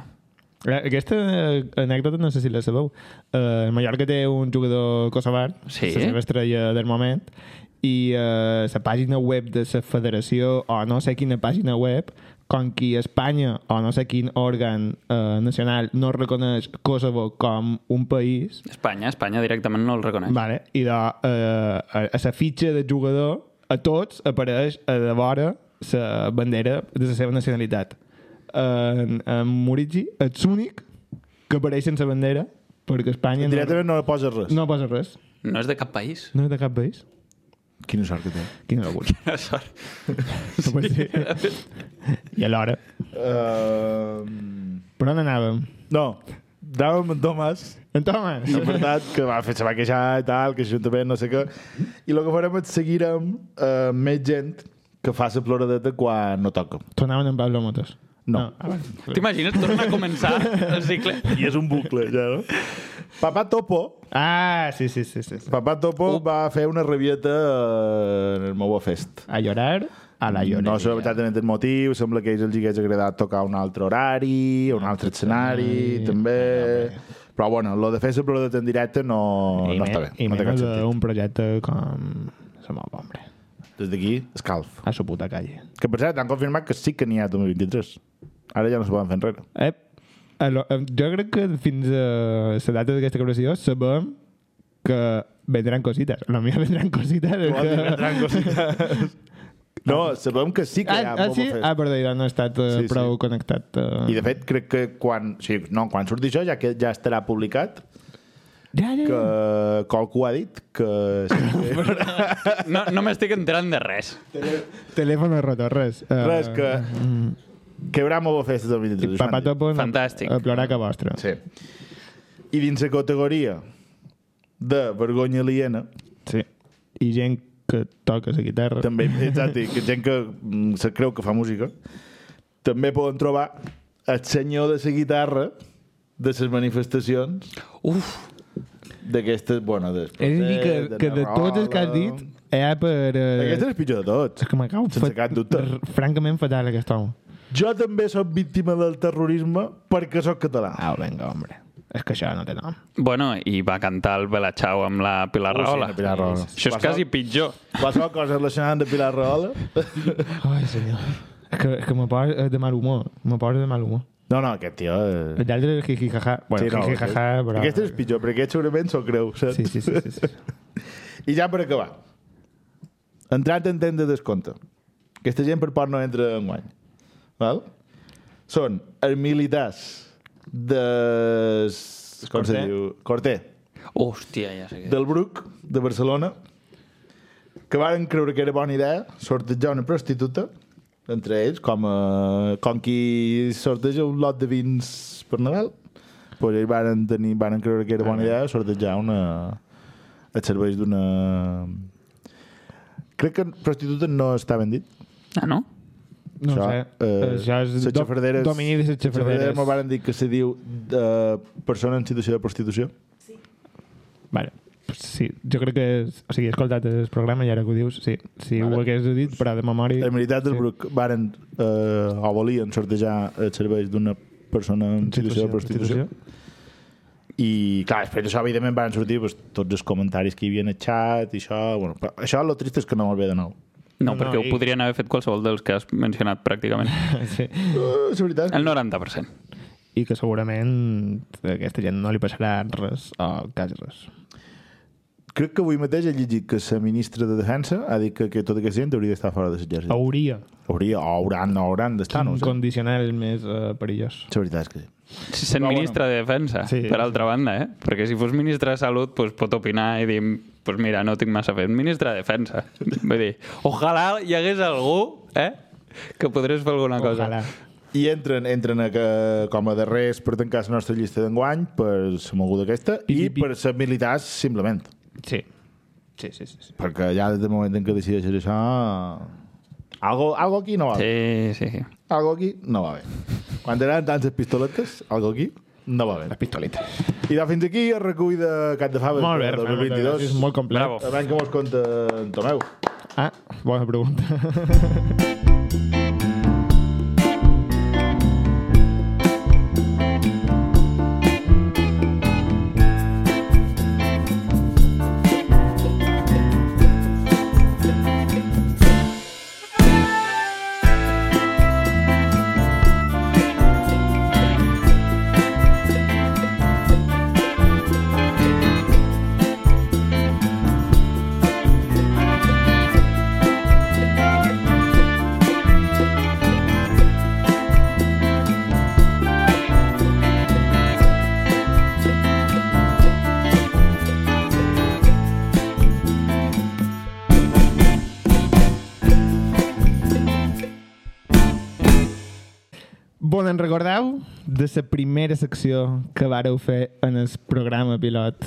Speaker 2: Eh, Aquesta eh, anècdota no sé si la sabeu. Uh, Mallorca té un jugador kosovar,
Speaker 4: Sí.
Speaker 2: la seva estrella del moment, i eh, la pàgina web de la federació o no sé quina pàgina web com qui Espanya o no sé quin òrgan eh, nacional no reconeix Kosovo com un país
Speaker 4: Espanya, Espanya directament no el reconeix.
Speaker 2: vale, i de, eh, a, a la fitxa de jugador a tots apareix a de vora la bandera de la seva nacionalitat en, en Morici ets l'únic que apareix sense bandera perquè Espanya no,
Speaker 3: Directament no poses res.
Speaker 2: no posa res
Speaker 4: No és de cap país.
Speaker 2: no és de cap país
Speaker 3: Quina sort que té.
Speaker 2: quina locura
Speaker 4: Quina sort.
Speaker 2: no pot ser. i alhora
Speaker 3: Uh,
Speaker 2: per on anàvem?
Speaker 3: no, anàvem amb Tomàs
Speaker 2: en Tomàs
Speaker 3: no, per tant, que va fer, se va queixar i tal, que l'Ajuntament no sé què. I el que farem és seguirem eh, més gent que fa la ploradeta quan no toca.
Speaker 2: tornaven en Pablo Motos
Speaker 3: No.
Speaker 2: ah, vale.
Speaker 4: T'imagines tornar a començar el cicle?
Speaker 3: I és un bucle, ja, no? Papà Topo,
Speaker 2: ah sí, sí, sí, sí, sí.
Speaker 3: Papà Topo va fer una rabieta eh, en el Mobo Fest.
Speaker 2: a llorar a la lloreria
Speaker 3: No sé exactament el motiu, sembla que a ells els hi hagués agradat tocar un altre horari, un altre escenari, també... Però, bueno, lo de fer la pròdata en directe no,
Speaker 2: I,
Speaker 3: no
Speaker 2: me-
Speaker 3: està bé.
Speaker 2: i
Speaker 3: no té cap
Speaker 2: menys
Speaker 3: sentit.
Speaker 2: un projecte com... Se mou, hombre.
Speaker 3: Des d'aquí, escalf.
Speaker 2: A su puta calle.
Speaker 3: Que per cert, han confirmat que sí que n'hi ha 2023. Ara ja no se poden fer enrere.
Speaker 2: Ep. Alò, em- jo crec que fins a la data d'aquesta gravació sabem que vendran cosites. A lo millor vendran cosites.
Speaker 3: Vols dir
Speaker 2: Que... [LAUGHS]
Speaker 3: vendran cosites? No, sabem que sí que hi
Speaker 2: Ah,
Speaker 3: ha
Speaker 2: ah, sí?
Speaker 3: Bomba Fest.
Speaker 2: Ah, perdó, ja no he estat eh,
Speaker 3: Sí, sí.
Speaker 2: prou connectat. eh.
Speaker 3: I de fet, crec que quan... O sigui, no, quan surti això, ja que ja estarà publicat,
Speaker 2: Ja, ja,
Speaker 3: que
Speaker 2: ja.
Speaker 3: qualcú ha dit que... Sí,
Speaker 2: [LAUGHS]
Speaker 3: que
Speaker 4: No, no m'estic enterant de res.
Speaker 2: Telèfon roto, res. Eh,
Speaker 3: res, que... Que hi haurà molt festa de 2023.
Speaker 2: I
Speaker 3: això m'han dit.
Speaker 2: Papatopo no-
Speaker 4: Fantàstic.
Speaker 2: a plorar que vostre.
Speaker 3: Sí. I dins la categoria de vergonya aliena,
Speaker 2: sí. I gent que toca la guitarra.
Speaker 3: també, exacte, que gent que mm, se creu que fa música, també poden trobar el senyor de la guitarra de les manifestacions
Speaker 4: Uf,
Speaker 3: d'aquestes, bueno, de...
Speaker 2: És a dir, que, que de tots els que has dit, hi ha per... Eh,
Speaker 3: Aquesta és pitjor de tots.
Speaker 2: És que m'acau
Speaker 3: Sense cap dubte.
Speaker 2: francament fatal aquest home.
Speaker 3: Jo també sóc víctima del terrorisme perquè sóc català.
Speaker 2: Au, vinga, hombre. És que això no té nom.
Speaker 4: bueno, i va cantar el Bela Chao amb la Pilar
Speaker 3: Oh, sí,
Speaker 4: Rahola.
Speaker 3: la Pilar Rahola.
Speaker 4: Això és
Speaker 3: Qualsevol-
Speaker 4: quasi pitjor.
Speaker 3: Qualsevol cosa relacionada amb Pilar Rahola...
Speaker 2: Ai, senyor. És que, és que me posa eh, de mal humor. Me posa de mal humor.
Speaker 3: No, no, aquest tio... Eh...
Speaker 2: Els altres, jiji, jaja. Bueno, sí,
Speaker 3: no,
Speaker 2: jiji, jaja, però...
Speaker 3: Aquest és pitjor, perquè aquest segurament s'ho creu, saps?
Speaker 2: Sí, sí, sí. sí, sí.
Speaker 3: I ja per acabar. Entrat en tenda de descompte. Aquesta gent per part no entra en guany. Val? Són els militars de... Com se
Speaker 2: Corter.
Speaker 3: diu? Corter.
Speaker 4: Hòstia, ja sé què.
Speaker 3: Del Bruc, de Barcelona, que varen creure que era bona idea sortejar una prostituta entre ells, com, a, com qui sorteja un lot de vins per Nadal. Pues ells varen, tenir, varen creure que era bona idea sortejar una, els serveis d'una... Crec que prostituta no està ben dit.
Speaker 4: Ah, no?
Speaker 2: No
Speaker 3: això,
Speaker 2: sé.
Speaker 3: eh,
Speaker 2: això és
Speaker 3: les
Speaker 2: do-
Speaker 3: xafarderes-
Speaker 2: domini de les xafarderes.
Speaker 3: M'ho van dir que se diu eh, persona en situació de prostitució.
Speaker 2: Vale. Pues Sí, jo crec que... És, o sigui, he escoltat el programa i ara que ho dius, sí. Sí, ho hagués dit, però de memòria...
Speaker 3: En veritat, el Bruc varen eh, o volien sortejar els serveis d'una persona en situació de prostitució. I, clar, després d'això, evidentment, van sortir pues, tots els comentaris que hi havia en el xat i això... Bueno, però això, lo trist és que no me'l ve de nou.
Speaker 4: No,
Speaker 2: no,
Speaker 4: perquè ho
Speaker 2: i-
Speaker 4: podrien haver fet qualsevol dels que has mencionat, pràcticament.
Speaker 2: [LAUGHS] Sí.
Speaker 3: Uh, és veritat.
Speaker 4: El 90%.
Speaker 2: I que segurament a aquesta gent no li passarà res o quasi res.
Speaker 3: Crec que avui mateix he llegit que la ministra de Defensa ha dit que, que tota aquesta gent hauria d'estar fora de l'exèrcit. Oh.
Speaker 2: Hauria.
Speaker 3: Hauria, o hauran, no hauran d'estar, no ho
Speaker 2: un
Speaker 3: sé.
Speaker 2: condicional més eh, perillós.
Speaker 3: La veritat és que sí.
Speaker 4: Sent ministre de Defensa,
Speaker 2: Sí.
Speaker 4: per altra banda, eh? Perquè si fos ministre de Salut, doncs pot opinar i dir pues mira, no tinc massa fet. Ministre de
Speaker 2: [LAUGHS]
Speaker 4: Defensa. Vull dir, ojalà hi hagués algú, eh? Que podrés fer alguna
Speaker 2: Ojalà.
Speaker 4: cosa.
Speaker 3: I entren, entren a que, com a darrers per tancar la nostra llista d'enguany, per la moguda aquesta,
Speaker 2: Pi,
Speaker 3: i
Speaker 2: pi, pi.
Speaker 3: per ser militars, simplement.
Speaker 2: Sí. Sí, sí, sí. sí.
Speaker 3: Perquè ja des del moment en què decideixes això... Algo, algo aquí no va bé.
Speaker 4: Sí, sí.
Speaker 3: Algo aquí no va bé. Quan tenen tantes pistoletes, algo aquí no va bé.
Speaker 2: Pistolita.
Speaker 3: I de fins aquí el recull de Cat de Faves
Speaker 2: Molt bé,
Speaker 3: del
Speaker 2: Hernán, moltes gràcies,
Speaker 3: 2022.
Speaker 2: molt complet.
Speaker 4: Bravo.
Speaker 3: A veure què mos conta en Tomeu.
Speaker 2: Ah, bona pregunta. [LAUGHS] Bon, en recordeu de la primera secció que vàreu fer en el programa pilot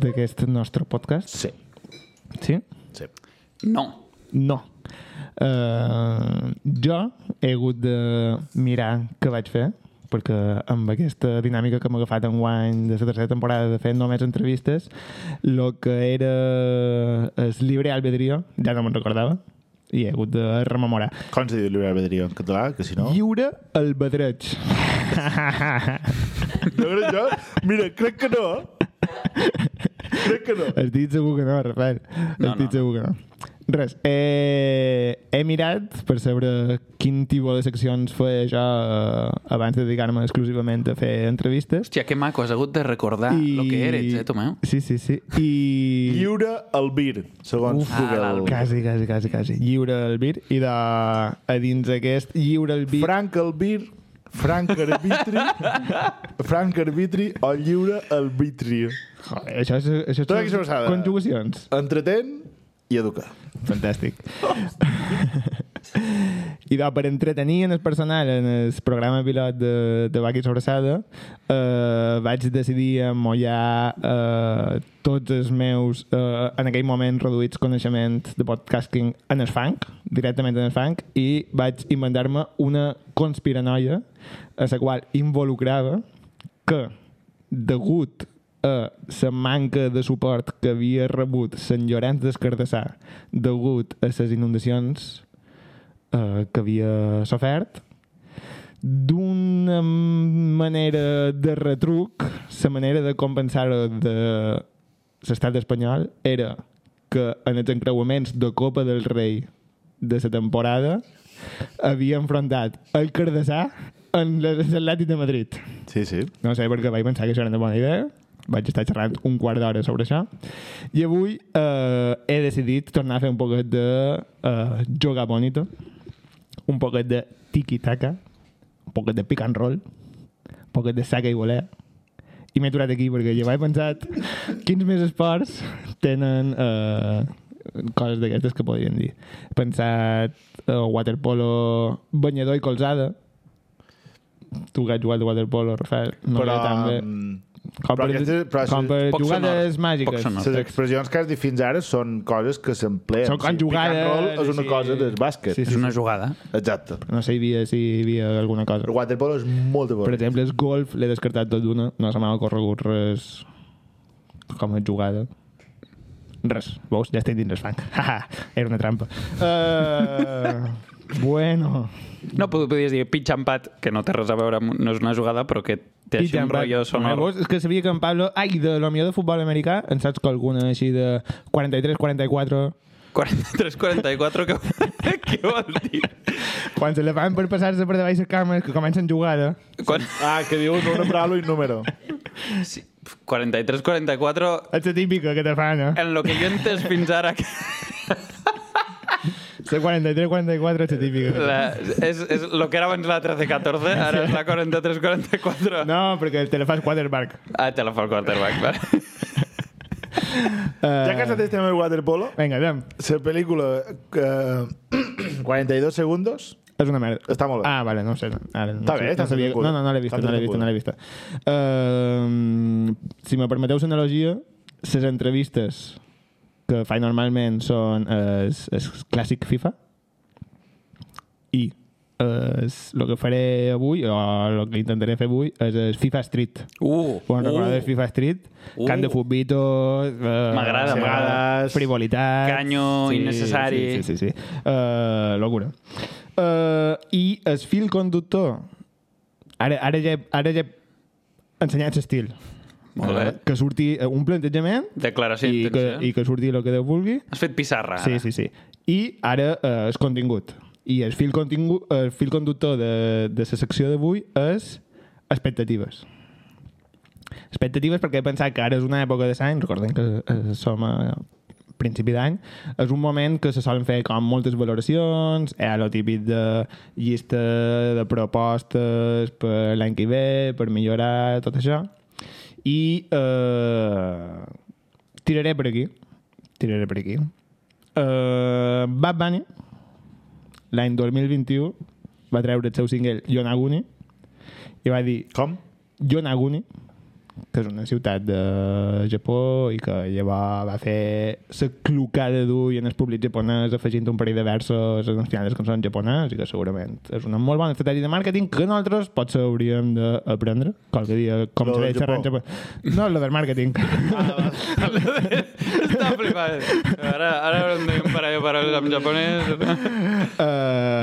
Speaker 2: d'aquest nostre podcast?
Speaker 3: Sí.
Speaker 2: Sí?
Speaker 3: sí.
Speaker 4: No.
Speaker 2: No. Uh, jo he hagut de mirar què vaig fer, perquè amb aquesta dinàmica que m'ha agafat en guany de la tercera temporada de fer només entrevistes, el que era el llibre albedrío, ja no me'n recordava, i he hagut de rememorar.
Speaker 3: Com se diu llibre albedrío en català? Que si no...
Speaker 2: Lliure albedreig. [LAUGHS]
Speaker 3: No crec [LAUGHS] jo? Mira, crec que no. Crec que no.
Speaker 2: Has dit segur que no, Rafael. Has
Speaker 4: No, no,
Speaker 2: dit segur que no. Res. Eh, he mirat per saber quin tipus de seccions feia jo eh, abans de dedicar-me exclusivament a fer entrevistes.
Speaker 4: Hòstia, que maco, has hagut de recordar I... Ah, lo que eres, eh, Tomeu?
Speaker 2: Sí, sí, sí. I...
Speaker 3: Lliure el vir, segons
Speaker 4: Uf. Ah,
Speaker 3: Google.
Speaker 4: l'Albir.
Speaker 2: Quasi, quasi, quasi, quasi. Lliure el vir. I de... a dins aquest lliure el vir...
Speaker 3: Frank Albir, Frank [LAUGHS] Arbitri, Frank Arbitri o lliure arbitri.
Speaker 2: Joder, això, és, això
Speaker 3: Tot aquí sobressada.
Speaker 2: conjugacions.
Speaker 3: Entretén i educar.
Speaker 2: Fantàstic. I doncs, per entretenir en el personal en el programa pilot de, de Baqui Sobressada, eh, vaig decidir amollar eh, tots els meus, eh, en aquell moment, reduïts coneixement de podcasting en el funk, directament en el funk, i vaig inventar-me una conspiranoia a la qual involucrava que, degut a la manca de suport que havia rebut Sant Llorenç d'Escardassà degut a les inundacions eh, que havia sofert, d'una manera de retruc, la manera de compensar-ho de l'estat espanyol era que en els encreuaments de Copa del Rei de la temporada havia enfrontat el Cardassà en l'Atlètic de Madrid.
Speaker 3: Sí, sí.
Speaker 2: No sé per què vaig pensar que això era una bona idea. Vaig estar xerrant un quart d'hora sobre això. I avui eh, he decidit tornar a fer un poquet de eh, jogar bonito, un poquet de tiki-taka, un poquet de pick and roll, un poquet de saca i volea. I m'he aturat aquí perquè jo vaig pensat quins més esports tenen eh, coses d'aquestes que podríem dir. He pensat eh, waterpolo, banyador i colzada. Tu que has jugat a waterpolo, Rafael. No
Speaker 3: però,
Speaker 2: però, tan bé.
Speaker 4: um,
Speaker 3: mm,
Speaker 2: Com
Speaker 3: però
Speaker 2: per,
Speaker 3: aquestes- però
Speaker 2: com per
Speaker 4: Poc
Speaker 2: jugades
Speaker 4: sonor, poc
Speaker 2: màgiques.
Speaker 4: sonor.
Speaker 3: les expressions que has dit fins ara són coses que s'empleen.
Speaker 2: Són com jugades,
Speaker 3: Pick and roll és una
Speaker 2: sí.
Speaker 3: cosa del bàsquet.
Speaker 2: Sí,
Speaker 4: És una jugada.
Speaker 3: Exacte.
Speaker 2: No sé hi havia, si hi havia alguna cosa.
Speaker 3: El waterpolo és molt de
Speaker 2: Per
Speaker 3: bon.
Speaker 2: exemple, el golf l'he descartat tot d'una. No se m'ha ocorregut res com a jugada. Res. Veus? Ja estic dins el fang. [LAUGHS] Ha, ha. Era una trampa. Uh, bueno.
Speaker 4: No, pod- podies dir pitch and pat, que no té res a veure, amb, no és una jugada, però que té així un rotllo sonor.
Speaker 2: Veus? És que sabia que en Pablo... Ai, de lo millor de futbol americà, en saps que alguna així de 43, 44...
Speaker 4: 43-44, que, [LAUGHS] què vol dir?
Speaker 2: Quan se la fan per passar-se per davall les cames, que comencen jugada...
Speaker 4: Quan...
Speaker 3: Ah, que dius una paraula i un número.
Speaker 4: Sí, 43-44,
Speaker 2: És la típica que te fan, eh?
Speaker 4: en lo que jo he entès fins ara, que
Speaker 2: La 43, 44 és la típica.
Speaker 4: la, és, és lo que era abans la 13-14, ara és la 43-44. No.
Speaker 2: No, perquè te la fas quarterback.
Speaker 4: Ah, te la fa el quarterback, vale.
Speaker 2: Uh,
Speaker 3: Ja que estàs amb el waterpolo,
Speaker 2: Vinga, anem.
Speaker 3: la pel·lícula eh, [CLEARS THROAT] 42 segundos
Speaker 2: És una merda.
Speaker 3: Està molt bé.
Speaker 2: Ah, vale, no ho sé. Ara, no
Speaker 3: Està
Speaker 2: sé,
Speaker 3: bé,
Speaker 2: no,
Speaker 3: està
Speaker 2: sabia...
Speaker 3: entretinguda.
Speaker 2: no, no, no l'he vist,
Speaker 3: Està
Speaker 2: no l'he vist, no l'he vist. Uh, si me permeteu l'analogia, les entrevistes que faig normalment són es, es clàssic FIFA i es, el que faré avui, o el que intentaré fer avui, és el FIFA Street.
Speaker 4: Uh,
Speaker 2: Quan uh. recordar FIFA Street, uh.
Speaker 4: Uh.
Speaker 2: Camp de Futbito... Eh,
Speaker 4: M'agrada,
Speaker 2: sí,
Speaker 3: m'agrada.
Speaker 2: Frivolitat...
Speaker 4: Canyo innecessari.
Speaker 2: Sí, sí, sí. sí. Eh, locura. Eh, I el fil conductor... Ara, ara ja, he- ara ja he ensenyat l'estil.
Speaker 4: Molt bé.
Speaker 2: Eh, Que surti eh, un plantejament
Speaker 4: Declaració
Speaker 2: i que,
Speaker 4: d'intenció.
Speaker 2: i que surti el que Déu vulgui.
Speaker 4: Has fet pissarra,
Speaker 2: Sí,
Speaker 4: ara.
Speaker 2: sí, sí. I ara eh, el contingut. I el fil, contingu el fil conductor de, de la secció d'avui és expectatives. Expectatives perquè he pensat que ara és una època de l'any, recordem que eh, som a principi d'any, és un moment que se solen fer com moltes valoracions, eh, lo típic de llista de propostes per l'any que ve, per millorar, tot això. I eh, tiraré per aquí. Tiraré per aquí. Uh, Bad Bunny, l'any 2021, va treure el seu single Yonaguni i va dir
Speaker 3: Com?
Speaker 2: Yonaguni, que és una ciutat de Japó i que llavors va fer la clocada d'ull en el públic japonès afegint un parell de versos al final de les cançons japonès i que segurament és una molt bona estratègia de màrqueting que nosaltres potser hauríem d'aprendre qualque dia com
Speaker 3: Lo
Speaker 2: se
Speaker 3: del
Speaker 2: ve xerrar en
Speaker 3: Japó.
Speaker 2: Japó. No, lo del màrqueting. [LAUGHS]
Speaker 4: Està flipant. Ara, ara em deia un parell de paraules en japonès.
Speaker 2: Eh,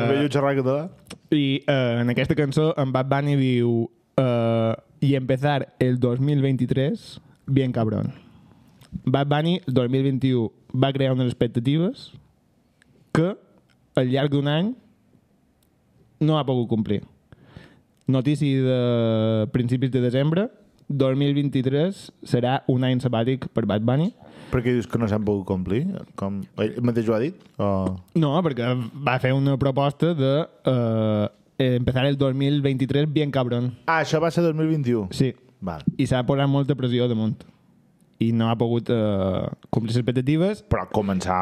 Speaker 3: Uh, jo xerrar en català?
Speaker 2: I eh, en aquesta cançó en Bad Bunny diu eh, y empezar el 2023 bien cabrón. Bad Bunny, el 2021, va crear unes expectatives que al llarg d'un any no ha pogut complir. Notícia de principis de desembre, 2023 serà un any sabàtic per Bad Bunny.
Speaker 3: Per què dius que no s'han pogut complir? Com... Ell mateix ho ha dit? O...
Speaker 2: No, perquè va fer una proposta de eh, empezar el 2023 bien cabrón.
Speaker 3: Ah, això va ser 2021.
Speaker 2: Sí.
Speaker 3: Val.
Speaker 2: I s'ha posat molta pressió damunt. I no ha pogut eh, complir les expectatives.
Speaker 3: Però començar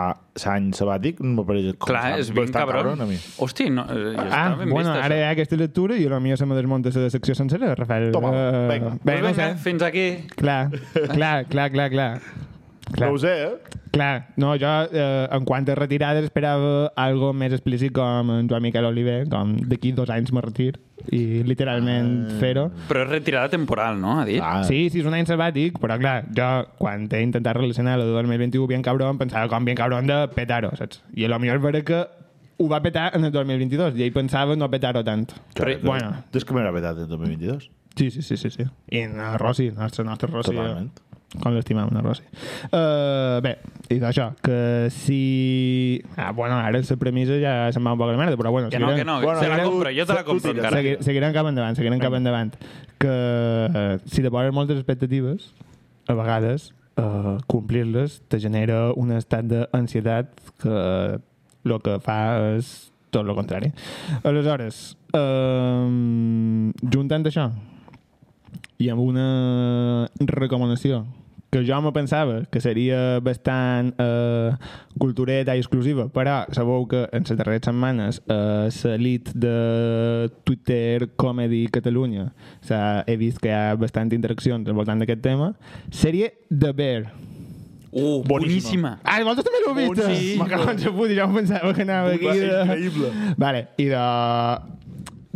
Speaker 3: l'any sabàtic no m'apareix
Speaker 4: Clar, eh, és ben cabron.
Speaker 3: a mi.
Speaker 4: Hosti, no, eh, ja està
Speaker 2: Ah,
Speaker 4: ben
Speaker 2: bueno,
Speaker 4: vist,
Speaker 2: ara hi ha aquesta lectura i la mía se me desmunta la secció sencera, Rafael.
Speaker 3: Toma,
Speaker 2: Eh,
Speaker 3: vinga.
Speaker 2: bé,
Speaker 4: Doncs
Speaker 2: no
Speaker 4: vinga,
Speaker 2: sé.
Speaker 4: fins aquí.
Speaker 2: Clar, clar, clar, clar, clar.
Speaker 3: No
Speaker 2: Clar,
Speaker 3: ho sé, eh?
Speaker 2: clar. No, jo, eh, en quant a retirada, esperava algo més explícit com en Joan Miquel Oliver, com d'aquí dos anys me retir, i literalment fer-ho.
Speaker 4: Però és retirada temporal, no? Ha dit.
Speaker 3: Ah, sí.
Speaker 2: Sí, sí, és un any sabàtic, però clar, jo quan he intentat relacionar el de 2021 bien cabrón, pensava com bien cabrón de petar-ho, saps? I a lo millor veure que ho va petar en el 2022, i ell pensava no petar-ho tant.
Speaker 4: Però,
Speaker 2: bueno.
Speaker 3: És que m'era veritat el 2022.
Speaker 2: Sí, sí, sí, sí. sí. I en el Rossi, el nostre, nostre Rossi.
Speaker 3: Totalment.
Speaker 2: Com l'estimam, en el Rossi. Uh, bé, i d'això, que si... Ah, bueno, ara la premissa ja se'n va un poc a la merda, però bueno...
Speaker 4: Que no, que no, que
Speaker 3: Bueno,
Speaker 4: se la
Speaker 3: tu-
Speaker 4: compro, jo te la
Speaker 3: tu
Speaker 4: compro
Speaker 3: tira,
Speaker 4: encara.
Speaker 2: Segui, seguiran cap endavant, seguiran cap endavant. Que eh, si te posen moltes expectatives, a vegades eh, complir-les te genera un estat d'ansietat que el que fa és tot el contrari. Aleshores, eh, juntant això i amb una recomanació que jo me pensava que seria bastant eh, cultureta i exclusiva, però sabeu que en les darreres setmanes eh, l'elit de Twitter Comedy Catalunya s'ha- he vist que hi ha bastant interaccions al voltant d'aquest tema, sèrie The Bear.
Speaker 4: Uh, boníssima.
Speaker 2: Ah, vosaltres també l'heu vist? [LAUGHS]
Speaker 4: Sí.
Speaker 2: Me cago en sa puta, jo em pensava que anava aquí. De...
Speaker 3: increïble.
Speaker 2: Vale, i de...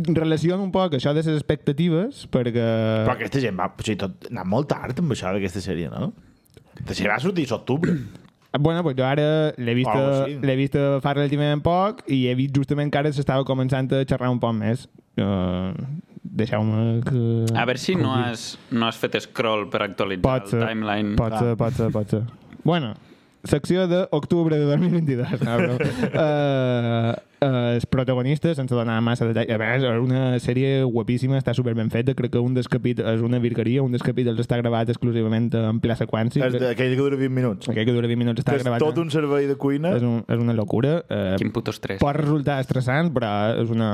Speaker 2: Relaciona un poc això de les expectatives, perquè...
Speaker 3: Però aquesta gent va... O sigui, tot, anar molt tard amb això d'aquesta sèrie, no? Aquesta sèrie va sortir a octubre.
Speaker 2: Bueno, pues jo ara l'he vist,
Speaker 3: Algo
Speaker 2: oh,
Speaker 3: així.
Speaker 2: sí. vist fa relativament poc i he vist justament que ara s'estava començant a xerrar un poc més. Uh, Deixeu-me que...
Speaker 4: A veure si no has, no has fet scroll per actualitzar
Speaker 2: Pot
Speaker 4: el
Speaker 2: ser,
Speaker 4: timeline.
Speaker 2: pot ser, pot ser, pot ser. Bueno, secció d'octubre de 2022. No,
Speaker 3: [LAUGHS]
Speaker 2: però, uh, uh, els protagonistes, sense donar massa detall, a més, és una sèrie guapíssima, està super ben feta, crec que un dels capítols, és una virgueria, un dels capítols està gravat exclusivament en pla seqüència.
Speaker 3: És d'aquell que dura 20 minuts.
Speaker 2: Aquell que dura 20 minuts està
Speaker 3: Que és
Speaker 2: gravat.
Speaker 3: tot
Speaker 2: en-
Speaker 3: un servei de cuina.
Speaker 2: és, un, és una locura. Eh,
Speaker 4: Ah, Quin puto estrès.
Speaker 2: pot resultar estressant, però és una...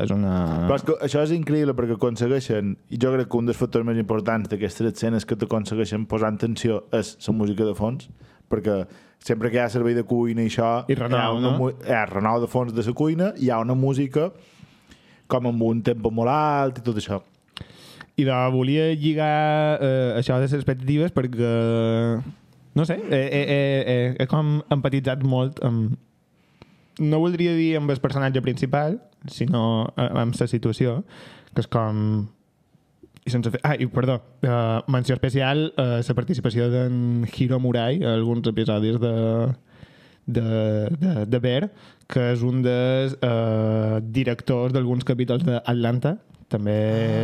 Speaker 2: És una...
Speaker 3: Però és que això és increïble perquè aconsegueixen, i jo crec que un dels factors més importants d'aquestes escenes que t'aconsegueixen posar en tensió és la música de fons, perquè sempre que hi ha servei de cuina i això...
Speaker 2: I renou,
Speaker 3: hi ha una,
Speaker 2: no?
Speaker 3: mu- Hi ha renou de fons de la cuina, hi ha una música com amb un tempo molt alt i tot això.
Speaker 2: I de, volia lligar eh, això de les expectatives perquè... No sé, eh, eh, eh, eh, he com empatitzat molt amb... No voldria dir amb el personatge principal, sinó eh, amb la situació, que és com... I sense fer... Ah, i perdó, eh, menció especial eh, la participació d'en Hiro Murai a alguns episodis de, de, de, de Bear, que és un dels eh, directors d'alguns capítols d'Atlanta, també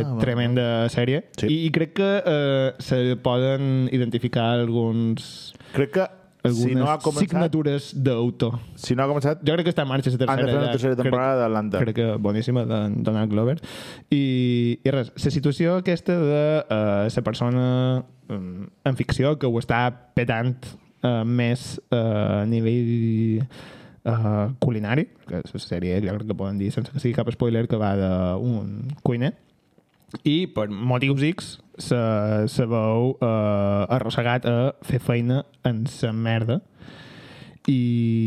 Speaker 2: ah, tremenda sèrie.
Speaker 3: Sí.
Speaker 2: I, I crec que eh, se poden identificar alguns
Speaker 3: Crec que
Speaker 2: algunes
Speaker 3: si no ha començat...
Speaker 2: signatures d'autor.
Speaker 3: Si no ha començat,
Speaker 2: Jo crec que està en marxa la tercera.
Speaker 3: han de fer una
Speaker 2: ja.
Speaker 3: tercera
Speaker 2: Crec-
Speaker 3: temporada d'Atlanta.
Speaker 2: crec que boníssima de Donald Glover i, i res, la situació aquesta de eh, la persona um, en ficció que ho està petant uh, més uh, a nivell uh, culinari que és la sèrie jo crec que poden dir sense que sigui cap spoiler que va d'un cuiner i per motius X se, se veu eh, arrossegat a fer feina en sa merda i...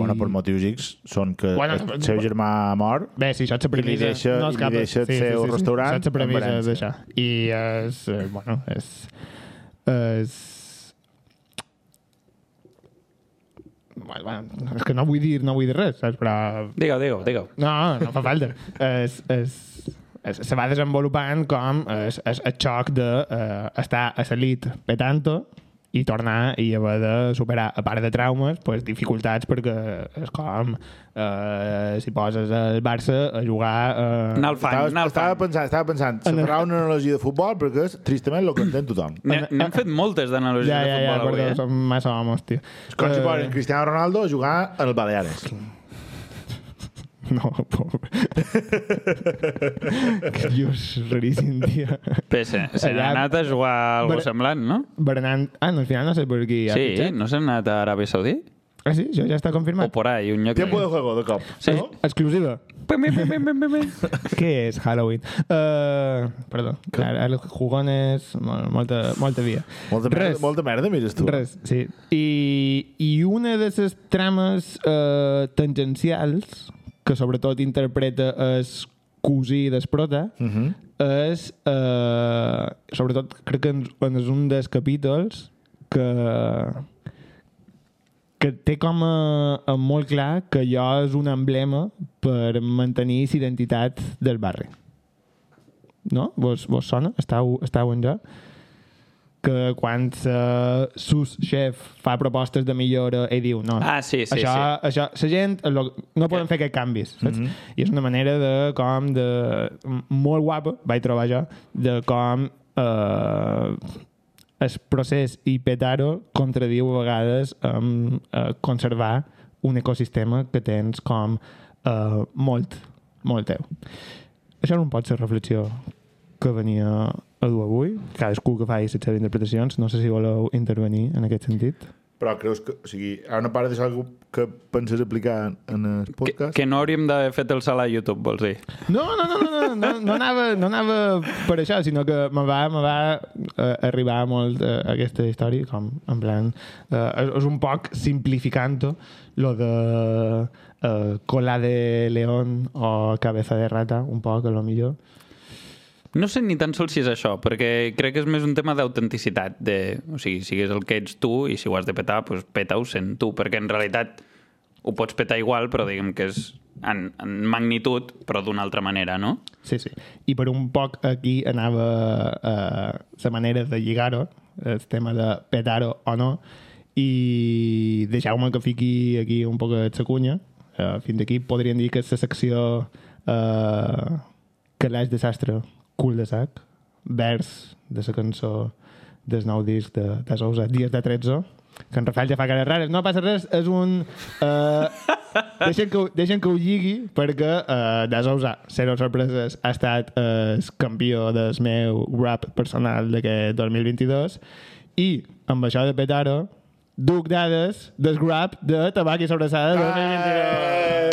Speaker 3: Bueno, per motius X són que
Speaker 2: Bueno,
Speaker 3: el seu germà ha mort
Speaker 2: Bé, sí, això és la
Speaker 3: I li
Speaker 2: premissa.
Speaker 3: deixa- i li
Speaker 2: escapes.
Speaker 3: deixa el seu restaurant
Speaker 2: Això és la
Speaker 3: en
Speaker 2: premissa
Speaker 3: València.
Speaker 2: d'això. I és... eh, Bueno, és... és Bueno, bueno, és que no vull dir, no vull dir res, saps? Però
Speaker 4: Digue-ho, digue-ho, digue-ho.
Speaker 2: no, no fa falta. [LAUGHS] es, es, es, se va desenvolupant com es, es, el xoc de eh, estar a l'elit petanto i tornar i haver de superar, a part de traumes, pues, dificultats perquè és com eh, si poses el Barça a jugar... Eh,
Speaker 4: Anar al
Speaker 3: Estava,
Speaker 4: fan, anar al
Speaker 3: estava,
Speaker 4: fan.
Speaker 3: pensant, estava pensant, s'afarà una analogia de futbol perquè és tristament el que entén tothom.
Speaker 4: N'he- N'hem fet moltes d'analogies
Speaker 2: ja,
Speaker 4: de
Speaker 2: ja, ja,
Speaker 4: futbol
Speaker 2: perdó,
Speaker 4: avui, eh?
Speaker 2: som massa homes, tio. Eh,
Speaker 3: És com si posen Cristiano Ronaldo a jugar al Baleares.
Speaker 2: [LAUGHS] No,
Speaker 4: [LAUGHS]
Speaker 2: pobre. que dius raríssim, tio.
Speaker 4: PS, se n'ha
Speaker 2: Allà-
Speaker 4: anat a jugar a algo
Speaker 2: Però-
Speaker 4: semblant, no?
Speaker 2: Bernat... Ah, no, al final no sé per qui ha
Speaker 4: Sí,
Speaker 2: fitxat.
Speaker 4: no se n'ha anat a Aràbia Saudí?
Speaker 2: Ah, sí? Això ja està
Speaker 4: O
Speaker 2: confirmat?
Speaker 4: por ahí, un lloc...
Speaker 3: Tiempo de juego, de cop.
Speaker 4: Sí.
Speaker 3: No?
Speaker 2: Exclusiva.
Speaker 4: Pim, pim, pim, pim, pim,
Speaker 2: [LAUGHS]
Speaker 4: pim.
Speaker 2: Què és Halloween? Uh, perdó. Ara, ara jugones, mol- molta, molta via.
Speaker 3: Molta merda,
Speaker 2: Res.
Speaker 3: molta merda mires tu.
Speaker 2: Res, sí. I, i una de les trames uh, tangencials que sobretot interpreta es cosí d'Esprota uh -huh. és uh, sobretot crec que en, en és un dels capítols que que té com a, a molt clar que allò és un emblema per mantenir la identitat del barri. No? Vos, vos sona? Estau, estau en jo? que quan eh, sus chef fa propostes de millora ell diu no,
Speaker 4: Ah, sí, sí, Mhm.
Speaker 2: això, això la gent eh, lo- no poden fer aquests canvis saps? i és una manera de com de, molt guapa, vaig trobar jo de com eh, el procés i petar-ho contradiu a vegades amb eh, conservar un ecosistema que tens com eh, molt, molt teu això no pot ser reflexió que venia a dur avui. Cadascú que faci les seves interpretacions. No sé si voleu intervenir en aquest sentit.
Speaker 3: Però creus que... O sigui, hi ha una part d'això que, que penses aplicar en el
Speaker 4: Que,
Speaker 3: podcast?
Speaker 4: que no hauríem d'haver fet el salt a YouTube, vols dir?
Speaker 2: No, no, no, no, no, no, no, anava, no anava per això, sinó que me va, me va eh, arribar molt eh, aquesta història, com en plan... Eh, és, és un poc simplificant-ho, lo de eh, cola de león o cabeza de rata, un poc, a lo millor.
Speaker 4: No sé ni tan sols si és això, perquè crec que és més un tema d'autenticitat. De... O sigui, sigues el que ets tu i si ho has de petar, doncs peta-ho sent tu, perquè en realitat ho pots petar igual, però diguem que és en, en magnitud, però d'una altra manera, no?
Speaker 2: Sí, sí. I per un poc aquí anava eh, la manera de lligar-ho, el tema de petar-ho o no, i deixeu-me que fiqui aquí un poc de cunya. Eh, fins aquí podríem dir que és la secció eh, que l'haig desastre, cul de sac, vers de la cançó del nou disc de, de Sousa, Dies de 13, que en Rafael ja fa cares rares. No passa res, és un... Eh, deixen, que, ho- deixen que ho lligui perquè eh, de Sousa, zero sorpreses, ha estat eh, el campió del meu rap personal d'aquest 2022 i amb això de petar-ho, duc dades del grab de tabac i
Speaker 4: Ah.
Speaker 2: sobrassada de 2022.
Speaker 3: Eh!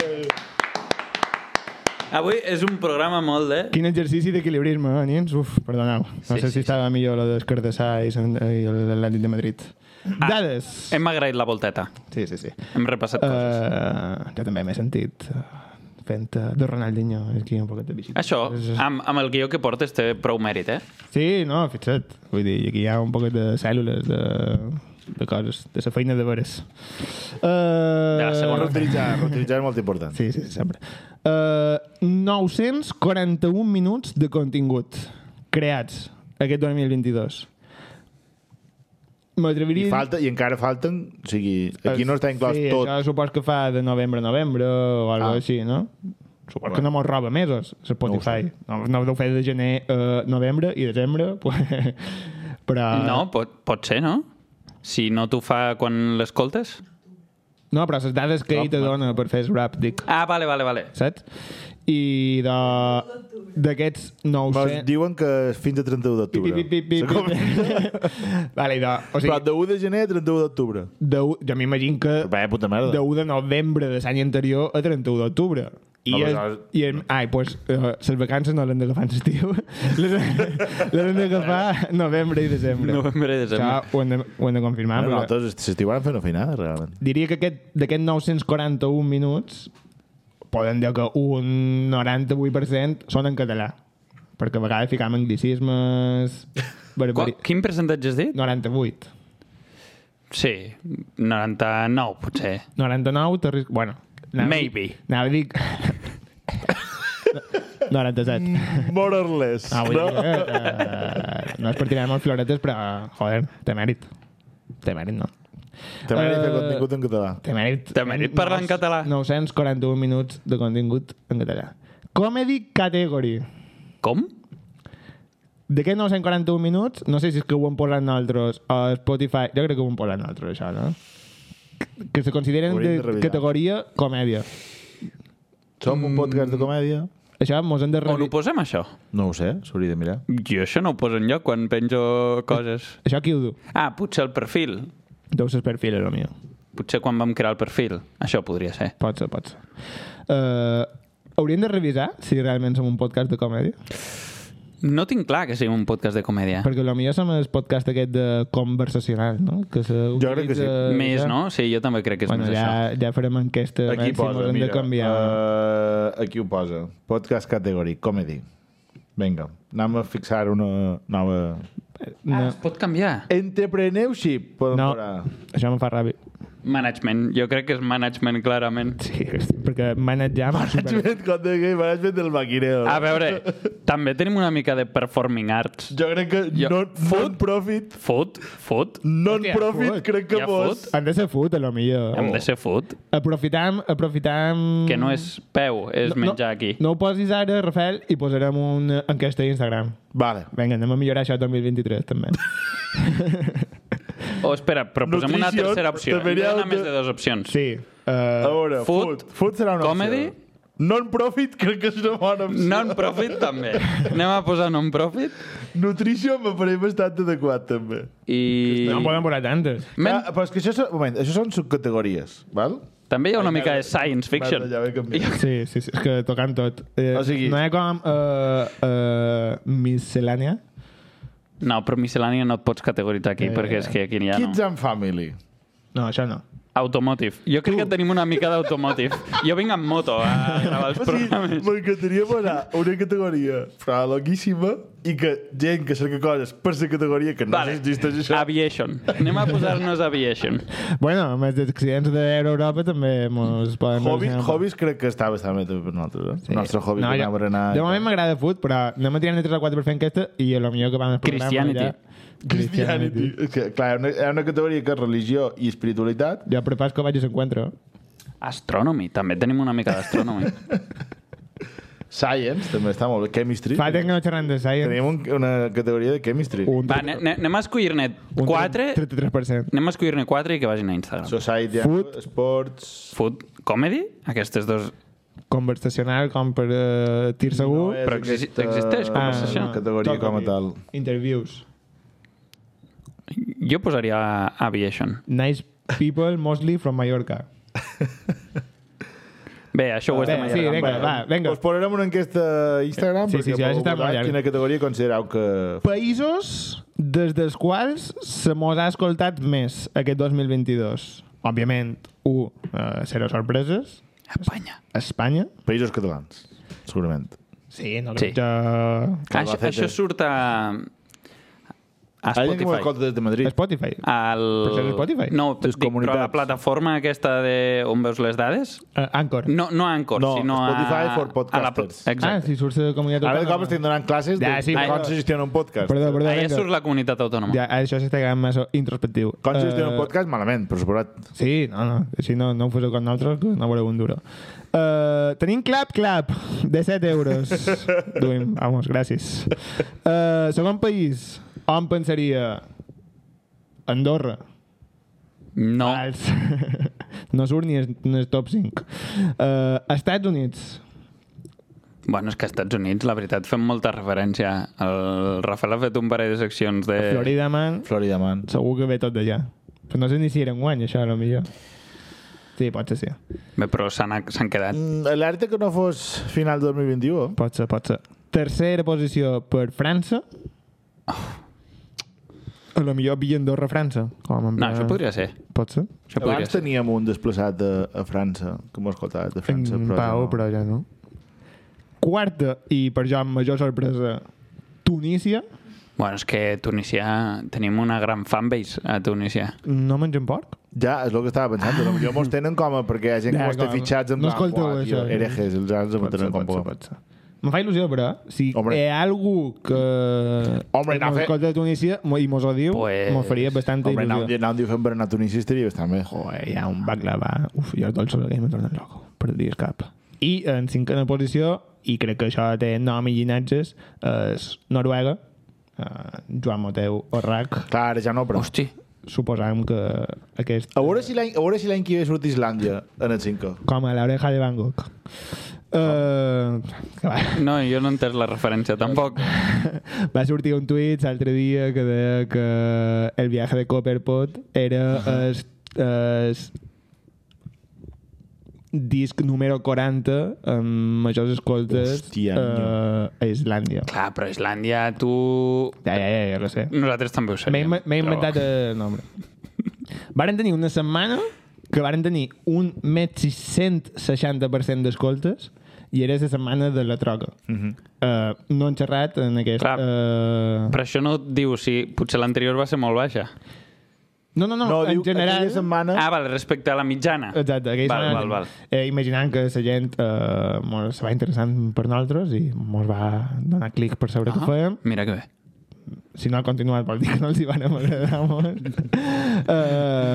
Speaker 4: Avui és un programa molt de...
Speaker 2: Quin exercici d'equilibrisme, eh, nens? Uf, perdoneu. No
Speaker 4: Sí,
Speaker 2: sé
Speaker 4: sí,
Speaker 2: si estava millor lo d'Escardassà i Sant- i l'Atlètic de Madrid.
Speaker 4: Ah.
Speaker 2: Dades!
Speaker 4: Hem agraït la volteta,
Speaker 2: Sí, sí, sí.
Speaker 4: hem repassat coses.
Speaker 2: Uh, jo també m'he sentit eh, fent eh, de Ronaldinho aquí un poquet de bicicleta.
Speaker 4: Això, amb, amb el guió que portes té prou mèrit, eh?
Speaker 2: Sí, no, fixa't. Vull dir, aquí hi ha un poquet de cèl·lules, de, de coses, de la feina de veres. Uh,
Speaker 4: De la segona.
Speaker 3: Reutilitzar, reutilitzar és molt important.
Speaker 2: Sí, sí, sempre. Uh, 941 minuts de contingut creats aquest 2022.
Speaker 3: I,
Speaker 2: M'atreviria... a dir-
Speaker 3: falta, I encara falten... O sigui, aquí no està inclòs
Speaker 2: sí,
Speaker 3: tot.
Speaker 2: Això supos que fa de novembre a novembre o alguna
Speaker 3: Ah.
Speaker 2: ah. així, no? Supos que no mos roba mesos, Spotify. No, no, deu fer de gener a novembre i desembre, [LAUGHS] pues, però...
Speaker 4: No, pot, pot ser, no? Si no t'ho fa quan l'escoltes?
Speaker 2: No, però les dades que ell te dona per fer el rap, dic,
Speaker 4: Ah, vale, vale, vale.
Speaker 2: saps? I de... d'aquests
Speaker 3: Però
Speaker 2: 900...
Speaker 3: diuen que és fins a 31 d'octubre.
Speaker 2: Pi, pi, pi, pi,
Speaker 3: Segon- [LAUGHS]
Speaker 2: pi. [LAUGHS] vale, de, o
Speaker 3: Però
Speaker 2: sigui,
Speaker 3: de 1 de gener a 31 d'octubre.
Speaker 2: de, u- jo m'imagino que
Speaker 3: Bé, puta
Speaker 2: de
Speaker 3: merda.
Speaker 2: 1 de novembre de l'any anterior a 31 d'octubre. I, no,
Speaker 3: No, però
Speaker 2: és,
Speaker 3: aleshores-
Speaker 2: i és, ai, pues, uh, les vacances no l'han d'agafar en estiu. [LAUGHS] Les les han d'agafar novembre i desembre.
Speaker 4: Novembre i desembre.
Speaker 2: Això ho hem de, ho hem de confirmar.
Speaker 3: Bueno,
Speaker 2: No, però...
Speaker 3: nosaltres s'estiuen fent afinada, realment.
Speaker 2: Diria que aquest- d'aquests 941 minuts poden dir que un 98% són en català. Perquè a vegades ficam
Speaker 4: [LAUGHS]
Speaker 2: anglicismes...
Speaker 4: Qu
Speaker 2: Barbari...
Speaker 4: quin percentatge has dit?
Speaker 2: 98.
Speaker 4: Sí, 99 potser.
Speaker 2: 99 t'arris... Bueno. anava a dir-
Speaker 4: Maybe.
Speaker 2: Anava a dir... [LAUGHS] 97.
Speaker 3: More or less.
Speaker 2: Ah, vull dir, eh, no és per tirar molt floretes, però, joder, eh, té mèrit. Té mèrit, no?
Speaker 3: Té mèrit fer
Speaker 2: Eh,
Speaker 3: contingut en català.
Speaker 2: Té mèrit.
Speaker 4: Té mèrit parlar en català.
Speaker 2: 941 minuts de contingut en català. Comedy Category.
Speaker 4: Com?
Speaker 2: D'aquests 941 minuts, no sé si és que ho hem posat nosaltres o a Spotify, jo crec que ho hem posat nosaltres, això, no? Que- Que se consideren
Speaker 3: Hauríem de
Speaker 2: de
Speaker 3: revisar.
Speaker 2: categoria comèdia.
Speaker 3: Som un podcast de comèdia?
Speaker 2: Això mos hem de
Speaker 4: On ho
Speaker 2: revisar.
Speaker 4: posem, això?
Speaker 3: No ho sé, s'hauria de mirar.
Speaker 4: Jo això no ho poso enlloc quan penjo coses.
Speaker 2: Això qui ho du?
Speaker 4: Ah, potser el perfil.
Speaker 2: Deu ser perfil, el meu.
Speaker 4: Potser quan vam crear el perfil. Això podria ser.
Speaker 2: Pot ser, pot ser. Uh, hauríem de revisar si realment som un podcast de comèdia.
Speaker 4: No tinc clar que sigui un podcast de comèdia.
Speaker 2: Perquè el millor som el podcast aquest de conversacional, no? Que jo
Speaker 3: crec que sí.
Speaker 4: Més, no? Sí, jo també crec que és
Speaker 2: Bueno,
Speaker 4: més això.
Speaker 2: ja, ja farem enquesta. a
Speaker 3: Aquí
Speaker 2: veure si mos
Speaker 3: posa,
Speaker 2: hem
Speaker 3: mira.
Speaker 2: de canviar.
Speaker 3: Uh, aquí ho posa. Podcast category, comedy. Vinga, anem a fixar una nova...
Speaker 4: Ah,
Speaker 3: Eh,
Speaker 2: no,
Speaker 4: es pot canviar.
Speaker 3: Entrepreneurship, podem
Speaker 2: no.
Speaker 3: posar.
Speaker 2: això em fa ràbia.
Speaker 4: Management. Jo crec que és management, clarament.
Speaker 2: Sí, [LAUGHS] perquè manejar... Management.
Speaker 3: Management, content que management del maquineo.
Speaker 4: A veure, també tenim una mica de performing arts.
Speaker 3: Jo crec que
Speaker 4: Jo-
Speaker 3: non- non-profit,
Speaker 4: Fot, fot.
Speaker 3: non-profit,
Speaker 2: fot.
Speaker 3: crec que
Speaker 4: Ja
Speaker 3: vos...
Speaker 4: fot.
Speaker 2: Hem de ser fut, a lo millor.
Speaker 4: Hem de ser fot.
Speaker 2: Aprofitam, aprofitam...
Speaker 4: Que no és peu, és menjar
Speaker 2: no,
Speaker 4: aquí.
Speaker 2: No ho posis ara, Rafael, i posarem una enquesta a Instagram.
Speaker 3: Vale.
Speaker 2: Vinga, anem a millorar això el 2023, també.
Speaker 4: O espera, però posem una
Speaker 3: Nutrició,
Speaker 4: tercera opció. Hem
Speaker 3: també
Speaker 4: de
Speaker 3: hi ha
Speaker 4: donar
Speaker 3: un-
Speaker 4: més de dues opcions.
Speaker 2: [LAUGHS] Sí.
Speaker 3: A
Speaker 2: Uh,
Speaker 3: veure,
Speaker 4: Food,
Speaker 3: food. Food serà una
Speaker 4: comedy.
Speaker 3: opció. Non-profit crec que és una bona opció.
Speaker 4: Non-profit també. Anem a posar non-profit
Speaker 3: Nutrition me pareix bastant adequat, també.
Speaker 4: i...
Speaker 2: no en podem posar tantes.
Speaker 4: Men,
Speaker 3: Ah, però és que això, són, un moment, això són subcategories, val?
Speaker 4: també hi ha una mica de science fiction.
Speaker 3: Merda, ja ho he canviat.
Speaker 2: Sí, sí, sí, és que tocant tot. Eh,
Speaker 3: O sigui-
Speaker 2: No hi ha com uh, uh, miscel·lània?
Speaker 4: No, però miscel·lània no et pots categoritzar aquí,
Speaker 3: Eh,
Speaker 2: Ja, ja,
Speaker 4: perquè és que aquí ja
Speaker 3: Kids
Speaker 4: no.
Speaker 3: and Family.
Speaker 2: No, això no.
Speaker 4: Automotive. Jo crec que tenim una mica d'automotive. Jo vinc amb moto a gravar
Speaker 3: [LAUGHS]
Speaker 4: els
Speaker 3: O sigui,
Speaker 4: programes.
Speaker 3: m'encantaria posar una categoria però loquíssima i que gent que cerca coses per la categoria que no
Speaker 4: Vale.
Speaker 3: existeix això.
Speaker 4: Aviation. Anem a posar-nos aviation.
Speaker 2: Bueno, amb els accidents d'Europa també mos poden...
Speaker 3: Hobbies,
Speaker 2: relacionar.
Speaker 3: hobbies crec que està bastant bé també per nosaltres. Eh? Sí. El nostre hobby no,
Speaker 2: jo-
Speaker 3: ja. anar a berenar...
Speaker 2: De moment m'agrada food, però anem a tirar de 3 o 4 per fer enquesta i el millor que van al programa...
Speaker 4: Christianity.
Speaker 2: Ja...
Speaker 3: Christianity. És que, clar, hi ha una, hi ha una categoria que és religió i espiritualitat.
Speaker 2: Jo per Pasco vaig a s'encuentro.
Speaker 4: Astronomy. També tenim una mica
Speaker 3: [LAUGHS]
Speaker 4: d'astronomy.
Speaker 3: Science també està molt bé. Chemistry.
Speaker 2: Fa temps que no xerrem de science.
Speaker 3: Tenim un, una categoria de chemistry.
Speaker 2: Un,
Speaker 4: Va, ne- ne- anem a escollir-ne
Speaker 2: un
Speaker 4: quatre.
Speaker 2: 33%.
Speaker 4: Anem a escollir-ne quatre i que vagin a Instagram.
Speaker 3: Society,
Speaker 2: Food.
Speaker 3: sports...
Speaker 4: Food comedy? Aquestes dos...
Speaker 2: Conversacional, com per uh, tir segur.
Speaker 4: Però exi- existeix com
Speaker 2: Ah,
Speaker 4: és això?
Speaker 2: no.
Speaker 3: eh, tota Categoria
Speaker 2: Toca
Speaker 3: com a
Speaker 2: dir.
Speaker 3: tal.
Speaker 2: Interviews.
Speaker 4: Jo posaria aviation.
Speaker 2: Nice people, mostly from Mallorca.
Speaker 4: Bé, això ho
Speaker 2: Bé,
Speaker 4: estem
Speaker 2: sí,
Speaker 4: allargant.
Speaker 2: vinga, va, Eh, vinga.
Speaker 3: Us posarem una enquesta a Instagram
Speaker 2: Sí,
Speaker 3: perquè
Speaker 2: sí, sí,
Speaker 3: podeu
Speaker 2: això està
Speaker 3: votar
Speaker 2: molt llarg.
Speaker 3: Quina categoria considereu que...
Speaker 2: Països des dels quals se mos ha escoltat més aquest 2022. Òbviament, 1, uh, zero sorpreses.
Speaker 4: Espanya.
Speaker 2: Espanya.
Speaker 3: Països catalans, segurament.
Speaker 2: Sí, no
Speaker 4: crec Sí.
Speaker 2: que...
Speaker 4: Això,
Speaker 3: Albacete.
Speaker 4: això surt a... A
Speaker 3: Hi ha gent que
Speaker 4: Spotify.
Speaker 3: m'escolta des de Madrid.
Speaker 2: Spotify.
Speaker 4: Al...
Speaker 2: Però això és Spotify.
Speaker 4: No,
Speaker 3: Les
Speaker 4: dic, però la
Speaker 3: comunitats.
Speaker 4: plataforma aquesta de on veus les dades?
Speaker 2: Uh, Anchor.
Speaker 4: No, no a Anchor,
Speaker 3: No,
Speaker 4: sinó
Speaker 3: Spotify
Speaker 4: a...
Speaker 3: for podcasters.
Speaker 4: A la... Exacte.
Speaker 2: Ah, si surts de comunitat
Speaker 3: Ara de
Speaker 2: autònoma.
Speaker 3: cop estem donant classes de
Speaker 2: Ja, sí,
Speaker 3: de
Speaker 4: però-
Speaker 3: com se gestiona un podcast.
Speaker 2: Perdó, perdó.
Speaker 4: Allà
Speaker 2: vinga.
Speaker 4: surt la comunitat autònoma.
Speaker 2: Ja, això s'està quedant massa introspectiu.
Speaker 3: Com se gestiona
Speaker 2: Eh,
Speaker 3: un podcast? Malament, per suposat.
Speaker 2: Sí, no, no. Si no, no ho foseu com nosaltres, que no veureu un duro. Uh, tenim Clap Clap, de 7 euros. Duim, vamos, gràcies. Uh, segon país, on pensaria? Andorra.
Speaker 4: No,
Speaker 2: Als... [LAUGHS] no surt ni es- ni el top 5. Uh, Estats Units.
Speaker 4: bueno, és que als Estats Units, la veritat, fem molta referència. El Rafael ha fet un parell de seccions de...
Speaker 2: Florida, man.
Speaker 3: Florida, man.
Speaker 2: Segur que ve tot d'allà. Però no sé ni si era un guany, això, a lo millor. Sí, pot ser, sí.
Speaker 4: Bé, però s'han s'han quedat.
Speaker 3: Mm, Alerta que no fos final 2021. eh?
Speaker 2: Pot ser, pot ser. Tercera posició per França.
Speaker 3: Ah.
Speaker 2: A lo millor via Andorra, França. Com en
Speaker 4: No,
Speaker 2: plan-
Speaker 4: això podria ser.
Speaker 2: Pot ser.
Speaker 4: Això podria
Speaker 3: Abans
Speaker 4: ser.
Speaker 3: teníem un desplaçat a, a França, que m'ho escoltava de França.
Speaker 2: en
Speaker 3: Però ja
Speaker 2: Pau,
Speaker 3: no.
Speaker 2: però ja no. Quarta, i per jo amb major sorpresa, Tunísia.
Speaker 4: Bueno, és que Tunisia... Tenim una gran fanbase a Tunisia.
Speaker 2: No mengem porc.
Speaker 3: Ja, és el que estava pensant. però Potser mos tenen com a... Perquè hi ha gent que
Speaker 2: Ja,
Speaker 3: mos té
Speaker 2: com-
Speaker 3: fitxats en
Speaker 2: no
Speaker 3: plan,
Speaker 2: escolteu
Speaker 3: "Buah, tio,
Speaker 2: això".
Speaker 3: herejes, els grans em
Speaker 2: Pot ser,
Speaker 3: tenen com
Speaker 2: pot ser,
Speaker 3: por.
Speaker 2: pot ser. Em fa il·lusió, però, si
Speaker 3: Hombre.
Speaker 2: hi ha algú que
Speaker 3: Hombre,
Speaker 2: nos
Speaker 3: nafe.
Speaker 2: escolta de Tunísia mo- i mos ho diu,
Speaker 4: Pues-
Speaker 2: mos faria bastanta
Speaker 3: Hombre, anar un
Speaker 2: il·lusió.
Speaker 3: dia- anar un December a Tunísia estaria bastant bé.
Speaker 2: Joder, Oh, eh, hi ha un baklava. Uf, jo els dolços aquells me tornen loco. Perdries cap. I en cinquena posició, i crec que això té nom i llinatges, és Noruega, eh, Joan Mateu Orrac.
Speaker 3: Clar, ja no, però...
Speaker 4: Hosti,
Speaker 2: Suposam que aquest...
Speaker 3: A veure si l'any a veure si l'any que ve surt Islàndia en el 5.
Speaker 2: Com a l'oreja de Van Gogh. Eh, que va,
Speaker 4: no, jo no he entès la referència tampoc.
Speaker 2: va sortir un tuit l'altre dia que deia que el viatge de Copperpot era el, el disc número 40 amb majors escoltes
Speaker 3: Hòstia,
Speaker 2: eh, a Islàndia.
Speaker 4: Clar, però Islàndia, tu...
Speaker 2: Ja, ja, ja, ja ho sé.
Speaker 4: Nosaltres també ho
Speaker 2: M'he
Speaker 4: sabíem.
Speaker 2: inve- m'he inventat eh. el nombre. Varen tenir una setmana que varen tenir un 1.660% d'escoltes i era la setmana de la troca. Uh -huh. uh, no han xerrat en aquest...
Speaker 4: Clar.
Speaker 2: Uh...
Speaker 4: Però això no et diu si potser l'anterior va ser molt baixa.
Speaker 2: No, no, no,
Speaker 3: No,
Speaker 2: en
Speaker 3: diu que
Speaker 2: general...
Speaker 3: aquella setmana...
Speaker 4: Ah, val, respecte a la mitjana.
Speaker 2: Exacte, aquella
Speaker 4: val,
Speaker 2: setmana...
Speaker 4: val, val.
Speaker 2: Eh, imaginant que la gent eh, mos se va interessant per nosaltres i mos va donar clic per saber uh -huh.
Speaker 4: Ah,
Speaker 2: què fèiem.
Speaker 4: Mira que bé.
Speaker 2: si no ha continuat vol dir que no els hi van agradar [LAUGHS] molt uh,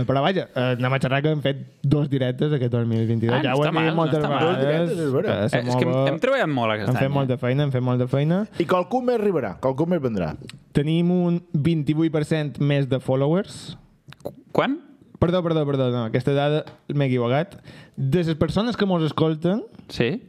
Speaker 2: però vaja, uh, anem a xerrar que hem fet dos directes aquest 2022
Speaker 4: Ah, no
Speaker 2: ja ho
Speaker 4: està
Speaker 2: hem
Speaker 4: mal,
Speaker 2: dit
Speaker 4: no
Speaker 2: moltes
Speaker 4: està mal.
Speaker 2: vegades
Speaker 3: Dos directes, és vera.
Speaker 2: que se
Speaker 4: Eh, és que hem,
Speaker 2: mova-
Speaker 4: hem treballat molt aquest
Speaker 2: hem
Speaker 4: any. eh?
Speaker 2: fet molta feina, hem fet molta feina
Speaker 3: I qualcú més arribarà, qualcú més vendrà.
Speaker 2: tenim un 28% més de followers
Speaker 4: Quan?
Speaker 2: perdó, perdó, perdó, no, aquesta dada m'he equivocat de les persones que mos escolten
Speaker 4: Sí?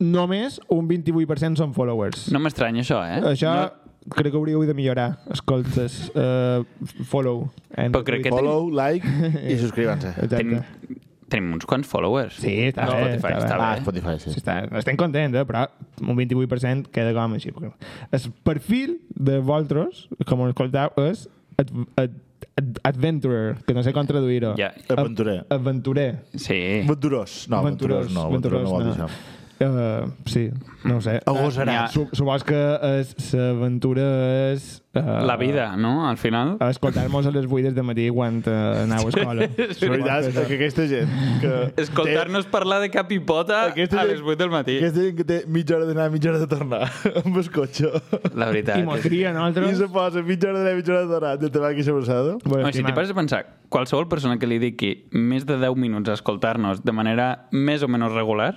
Speaker 2: només un 28% són followers
Speaker 4: No m'estranya això, eh?
Speaker 2: això
Speaker 4: No,
Speaker 2: crec que hauríeu de millorar escoltes, uh, follow and
Speaker 4: Però crec que
Speaker 2: retweet.
Speaker 3: Follow, like i
Speaker 2: [LAUGHS]
Speaker 3: subscriuen-se.
Speaker 2: Exacte.
Speaker 4: tenim, tenim uns quants followers.
Speaker 2: Sí, està
Speaker 4: Ah,
Speaker 2: bé,
Speaker 4: Spotify,
Speaker 2: està bé.
Speaker 4: està
Speaker 3: Ah,
Speaker 4: bé.
Speaker 3: Spotify, sí.
Speaker 2: Sí, està, estem contents, eh? però un 28% queda com així. Perquè el perfil de Voltros, com ho escoltau, és ad, ad, ad, adventurer, que no sé com traduir-ho.
Speaker 4: Ja.
Speaker 3: Aventurer.
Speaker 2: Ab- Aventurer.
Speaker 4: Sí.
Speaker 3: Venturós. No, venturós no, venturós no vol dir això.
Speaker 2: Uh, sí, no ho sé.
Speaker 3: Agosarà.
Speaker 2: Su- Supos que és- l'aventura és... Uh,
Speaker 4: La vida, no? Al final...
Speaker 2: Ah. Escoltar-nos a les 8 de matí quan uh, anava a
Speaker 4: [LAUGHS]
Speaker 2: escola.
Speaker 3: La veritat és que aquesta gent que...
Speaker 2: [LAUGHS]
Speaker 4: Escoltar-nos parlar de cap i pota a
Speaker 3: Aquesta
Speaker 4: les
Speaker 3: gent-
Speaker 4: 8 del matí.
Speaker 3: té- Aquesta gent que té mitja hora d'anar, mitja hora de tornar [LAUGHS] amb el cotxe.
Speaker 4: La veritat.
Speaker 2: I mos
Speaker 4: és-
Speaker 2: cria a
Speaker 3: I
Speaker 2: nosaltres.
Speaker 3: se posa mitja hora d'anar, mitja hora de tornar. De tabac i sobrassada.
Speaker 2: Bueno,
Speaker 4: Oi, si t'hi
Speaker 2: estimats.
Speaker 4: pares a pensar, qualsevol persona que li dediqui més de 10 minuts a escoltar-nos de manera més o menys regular,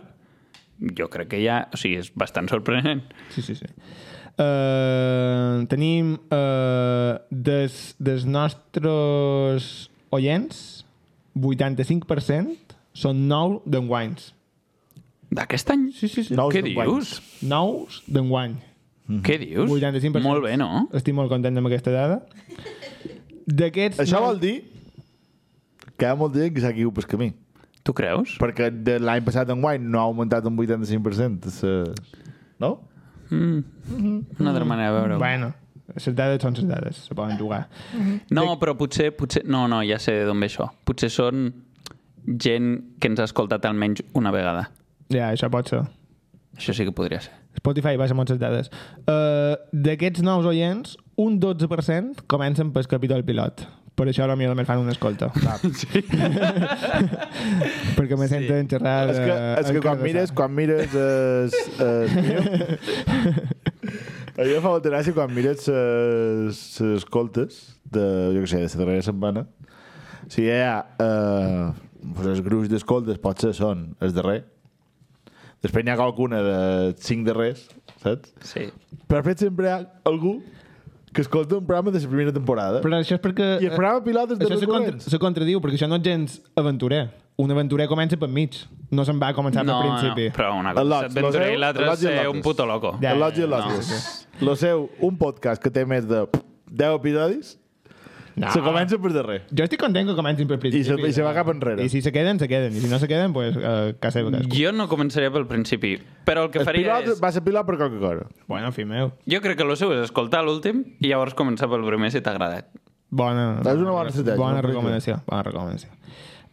Speaker 4: jo crec que ja... O sigui, és bastant sorprenent.
Speaker 2: Sí, sí, sí. Uh, tenim uh, des, des nostres oients 85% són nous d'enguanys.
Speaker 4: D'aquest any?
Speaker 2: Sí, sí, sí.
Speaker 3: Nous
Speaker 4: Què
Speaker 3: d'enguany.
Speaker 4: dius?
Speaker 2: Nous d'enguany. Mhm.
Speaker 4: Què dius?
Speaker 2: 85%.
Speaker 4: Molt bé, no?
Speaker 2: Estic molt content amb aquesta dada. D'aquests...
Speaker 3: Això
Speaker 2: nous-
Speaker 3: vol dir que hi ha molta gent que s'ha caigut pel camí.
Speaker 4: Tu creus?
Speaker 3: Perquè de l'any passat en guany no ha augmentat un 85%. Se... eh, No?
Speaker 4: Una altra manera de veure-ho.
Speaker 2: Mm. Bueno, les dades són les dades, se poden jugar.
Speaker 4: No, però potser, potser... No, no, ja sé d'on ve això. Potser són gent que ens ha escoltat almenys una vegada.
Speaker 2: Ja, això pot ser.
Speaker 4: Això sí que podria ser.
Speaker 2: Spotify baixa moltes dades. Uh, D'aquests nous oients, un 12% comencen pel capítol pilot. Per això potser només fan una
Speaker 3: [LAUGHS]
Speaker 2: escolta. Sí. [LAUGHS] Perquè me senten xerrar...
Speaker 3: és
Speaker 2: eh,
Speaker 3: que, és que
Speaker 2: en
Speaker 3: quan
Speaker 2: català.
Speaker 3: mires, quan mires... Es, es, a mi em fa molta gràcia quan mires les escoltes de, jo què sé, de la darrera setmana. Si hi ha... Eh, pues els gruix d'escoltes potser són els darrer. Després n'hi ha qualcuna de cinc darrers, saps?
Speaker 4: Sí.
Speaker 3: Però després sempre hi ha algú que escolta un programa de la primera temporada.
Speaker 2: Però això és perquè...
Speaker 3: I el programa pilot és de
Speaker 2: Això se, contra,
Speaker 3: recurrents.
Speaker 2: se contradiu, perquè això no és gens aventurer. Un aventurer comença pel mig. No se'n va començar
Speaker 4: No,
Speaker 2: pel
Speaker 4: no,
Speaker 2: principi.
Speaker 4: però una
Speaker 3: El
Speaker 4: cosa
Speaker 3: Lotz,
Speaker 4: és aventurer
Speaker 3: lo
Speaker 4: i
Speaker 3: seu,
Speaker 4: l'altra
Speaker 3: el
Speaker 4: és
Speaker 3: Lotz i el
Speaker 4: ser
Speaker 3: Lotz.
Speaker 4: un puto loco.
Speaker 2: Ja,
Speaker 3: Ja, el Lodge i el
Speaker 4: no.
Speaker 3: Lodge. Lo seu, un podcast que té més de 10 episodis,
Speaker 2: No.
Speaker 3: se comença per darrer.
Speaker 2: Jo estic content que comencin pel principi.
Speaker 3: I se- i se va cap enrere.
Speaker 2: I si se queden, se queden. I si no se queden, doncs pues, eh, que seva cadascú.
Speaker 4: Jo no començaré pel principi, però el que
Speaker 3: El
Speaker 4: faria
Speaker 3: pilot
Speaker 4: és...
Speaker 3: va ser pilot per qualque cosa.
Speaker 2: Bueno, fill meu.
Speaker 4: Jo crec que el seu és escoltar l'últim i llavors començar pel primer si t'ha agradat.
Speaker 2: Bona,
Speaker 3: És una bona estratègia,
Speaker 2: Bona
Speaker 3: no?
Speaker 2: recomanació. Bona recomanació.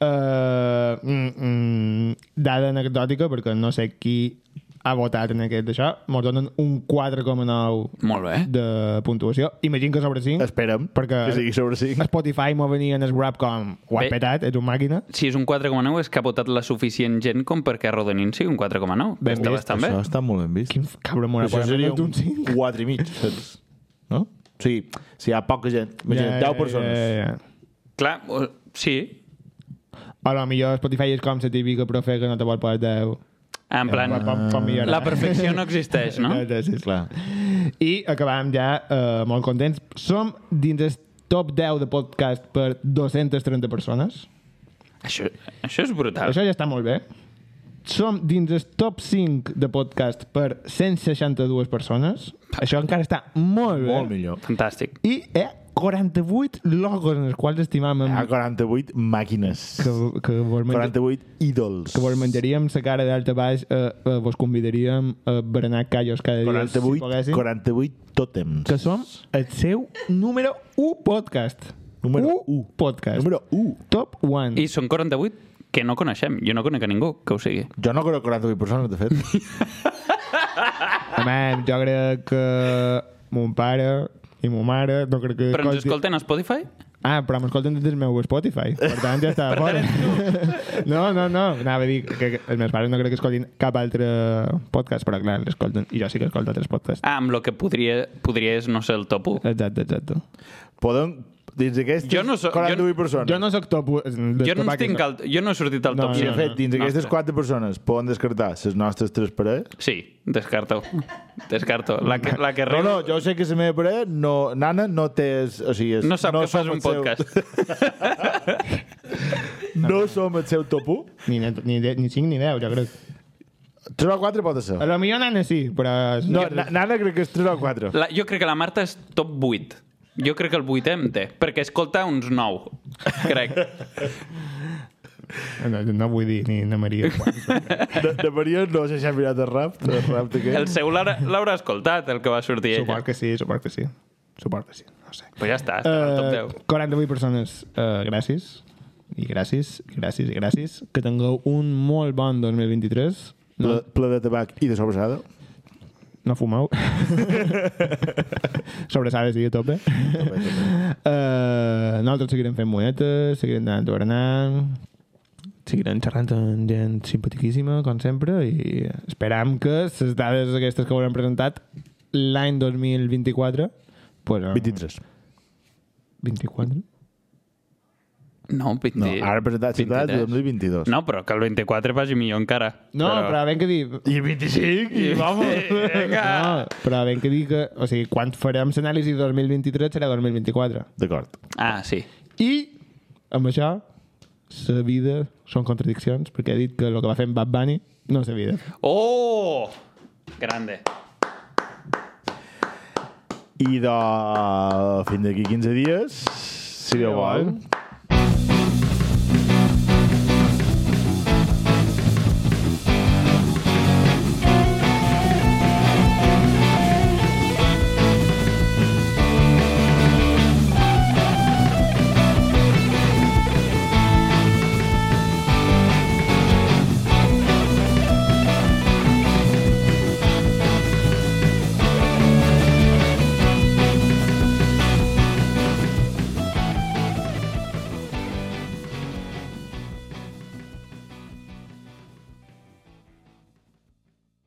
Speaker 2: Eh, Uh, mm, mm, dada anecdòtica, perquè no sé qui ha votat en aquest d'això, mos donen un 4,9
Speaker 4: Molt bé.
Speaker 2: de puntuació. Imagino que sobre 5,
Speaker 3: Esperem
Speaker 2: perquè
Speaker 3: que sigui sobre 5.
Speaker 2: Spotify m'ho venia en el grab com ho ha
Speaker 4: Bé.
Speaker 2: petat, ets un màquina.
Speaker 4: Si és un 4,9 és que ha votat la suficient gent com perquè arrodonint sigui un 4,9.
Speaker 2: Ben
Speaker 4: Està
Speaker 2: vist,
Speaker 4: bastant bé.
Speaker 3: Això està molt ben vist.
Speaker 2: Quin f- cabra m'ho ha
Speaker 3: Això
Speaker 2: posat
Speaker 3: seria
Speaker 2: un
Speaker 3: un
Speaker 2: 5.
Speaker 3: 4 i mig, saps? No? O sigui, si hi ha poca gent, imagina't,
Speaker 2: Ja,
Speaker 3: 10
Speaker 2: ja,
Speaker 3: persones.
Speaker 2: ja, ja.
Speaker 4: Clar, o- sí.
Speaker 2: O la millor Spotify és com la típica profe que no te vol posar 10.
Speaker 4: En plan,
Speaker 2: Com, com, com millorar.
Speaker 4: la perfecció no existeix, no?
Speaker 2: [LAUGHS] Ja, ja, sí, sí.
Speaker 3: Clar.
Speaker 2: I acabàvem ja eh, molt contents. Som dins el top 10 de podcast per 230 persones.
Speaker 4: Això, això és brutal.
Speaker 2: Això ja està molt bé. Som dins el top 5 de podcast per 162 persones. Això encara està molt bé.
Speaker 3: Molt millor.
Speaker 4: Fantàstic.
Speaker 2: I hi ha 48 logos en els quals estimam
Speaker 3: Hi ha
Speaker 2: amb...
Speaker 3: 48 màquines.
Speaker 2: que, que, vos menja...
Speaker 3: 48 ídols.
Speaker 2: que vos menjaríem la cara d'alta baix, eh, eh, vos convidaríem a berenar callos cada dia, si
Speaker 3: 48,
Speaker 2: poguéssim.
Speaker 3: 48 tòtems.
Speaker 2: que som el seu número 1 podcast.
Speaker 3: Número
Speaker 2: U
Speaker 3: u.
Speaker 2: podcast.
Speaker 3: Número 1.
Speaker 2: Top 1.
Speaker 4: I són 48 que no coneixem. Jo no conec a ningú que ho sigui.
Speaker 3: Jo no crec 48 persones, de fet.
Speaker 2: Home, jo crec que mon pare i ma mare, no crec que...
Speaker 4: Però ens
Speaker 2: escolti-
Speaker 4: escolten a Spotify?
Speaker 2: Ah, però m'escolten des del meu Spotify. Per tant, ja està fora. [LAUGHS] no, no, no. Anava a dir que que els meus pares no crec que escoltin cap altre podcast, però clar, l'escolten. I jo sí que escolto altres podcasts.
Speaker 4: Ah, amb el que podria, podria és no ser el top 1.
Speaker 2: Exacte, exacte.
Speaker 3: Podem, dins d'aquestes
Speaker 4: Jo no so- jo-
Speaker 3: 48 persones.
Speaker 2: Jo no sóc top...
Speaker 4: Jo no, estic al, jo no he sortit al
Speaker 2: No,
Speaker 4: top
Speaker 2: no,
Speaker 3: I,
Speaker 4: 100.
Speaker 3: de fet, dins d'aquestes
Speaker 4: Nostre.
Speaker 3: 4 persones poden descartar les nostres 3 parelles.
Speaker 4: Sí, descarto. Descarto. La que, la que
Speaker 3: No,
Speaker 4: riu...
Speaker 3: no, jo sé que la meva parella, no, nana, no té... es- O sigui, es-
Speaker 4: no sap no que
Speaker 3: som
Speaker 4: fas un
Speaker 3: el seu-
Speaker 4: podcast.
Speaker 3: [LAUGHS] No som el seu top 1.
Speaker 2: Ni, ni, de- ni 5 ni 10, jo crec.
Speaker 3: 3 o 4 pot ser.
Speaker 2: A lo millor nana sí, però...
Speaker 3: No, na- nana crec que és 3 o 4.
Speaker 4: La, jo crec que la Marta és top 8. Jo crec que el 8 em té, perquè escolta uns 9, crec.
Speaker 2: No, no vull dir ni na
Speaker 4: [LAUGHS]
Speaker 2: Maria.
Speaker 3: De, de Maria no sé si ha mirat el rap. El rap
Speaker 4: El
Speaker 3: d'aquest.
Speaker 4: seu l'haurà l'haurà escoltat, el que va sortir ella.
Speaker 2: suport que sí, suport que sí. Suport que sí, no sé.
Speaker 4: Pues ja està, està al
Speaker 2: Uh,
Speaker 4: top 10.
Speaker 2: 48 persones, uh, gràcies. I gràcies, gràcies i gràcies. Que tingueu un molt bon 2023. No,
Speaker 3: Ple, ple de tabac i de sobrassada.
Speaker 2: no [LAUGHS] fumeu. Sobrassades i a tope. Uh, nosaltres seguirem fent monetes, seguirem anant a berenar, seguirem xerrant amb gent simpatiquíssima, com sempre, i esperam que les dades aquestes que haurem presentat l'any 2024 pues, eh,
Speaker 3: 23.
Speaker 2: 24?
Speaker 4: No, 20...
Speaker 3: No, ara presentat ciutats de
Speaker 4: 23.
Speaker 3: 2022.
Speaker 4: No, però que el 24 vagi millor encara.
Speaker 2: No, però, però ben que dir...
Speaker 3: I 25, i vamos.
Speaker 2: No, però ben que dir que... O sigui, quan farem l'anàlisi de 2023 serà 2024.
Speaker 3: D'acord.
Speaker 4: Ah, sí.
Speaker 2: I amb això, la vida són contradiccions, perquè he dit que el que va fer en Bad Bunny no és la vida.
Speaker 4: Oh! Grande.
Speaker 3: eh, I de... fins d'aquí 15 dies, si Déu vol,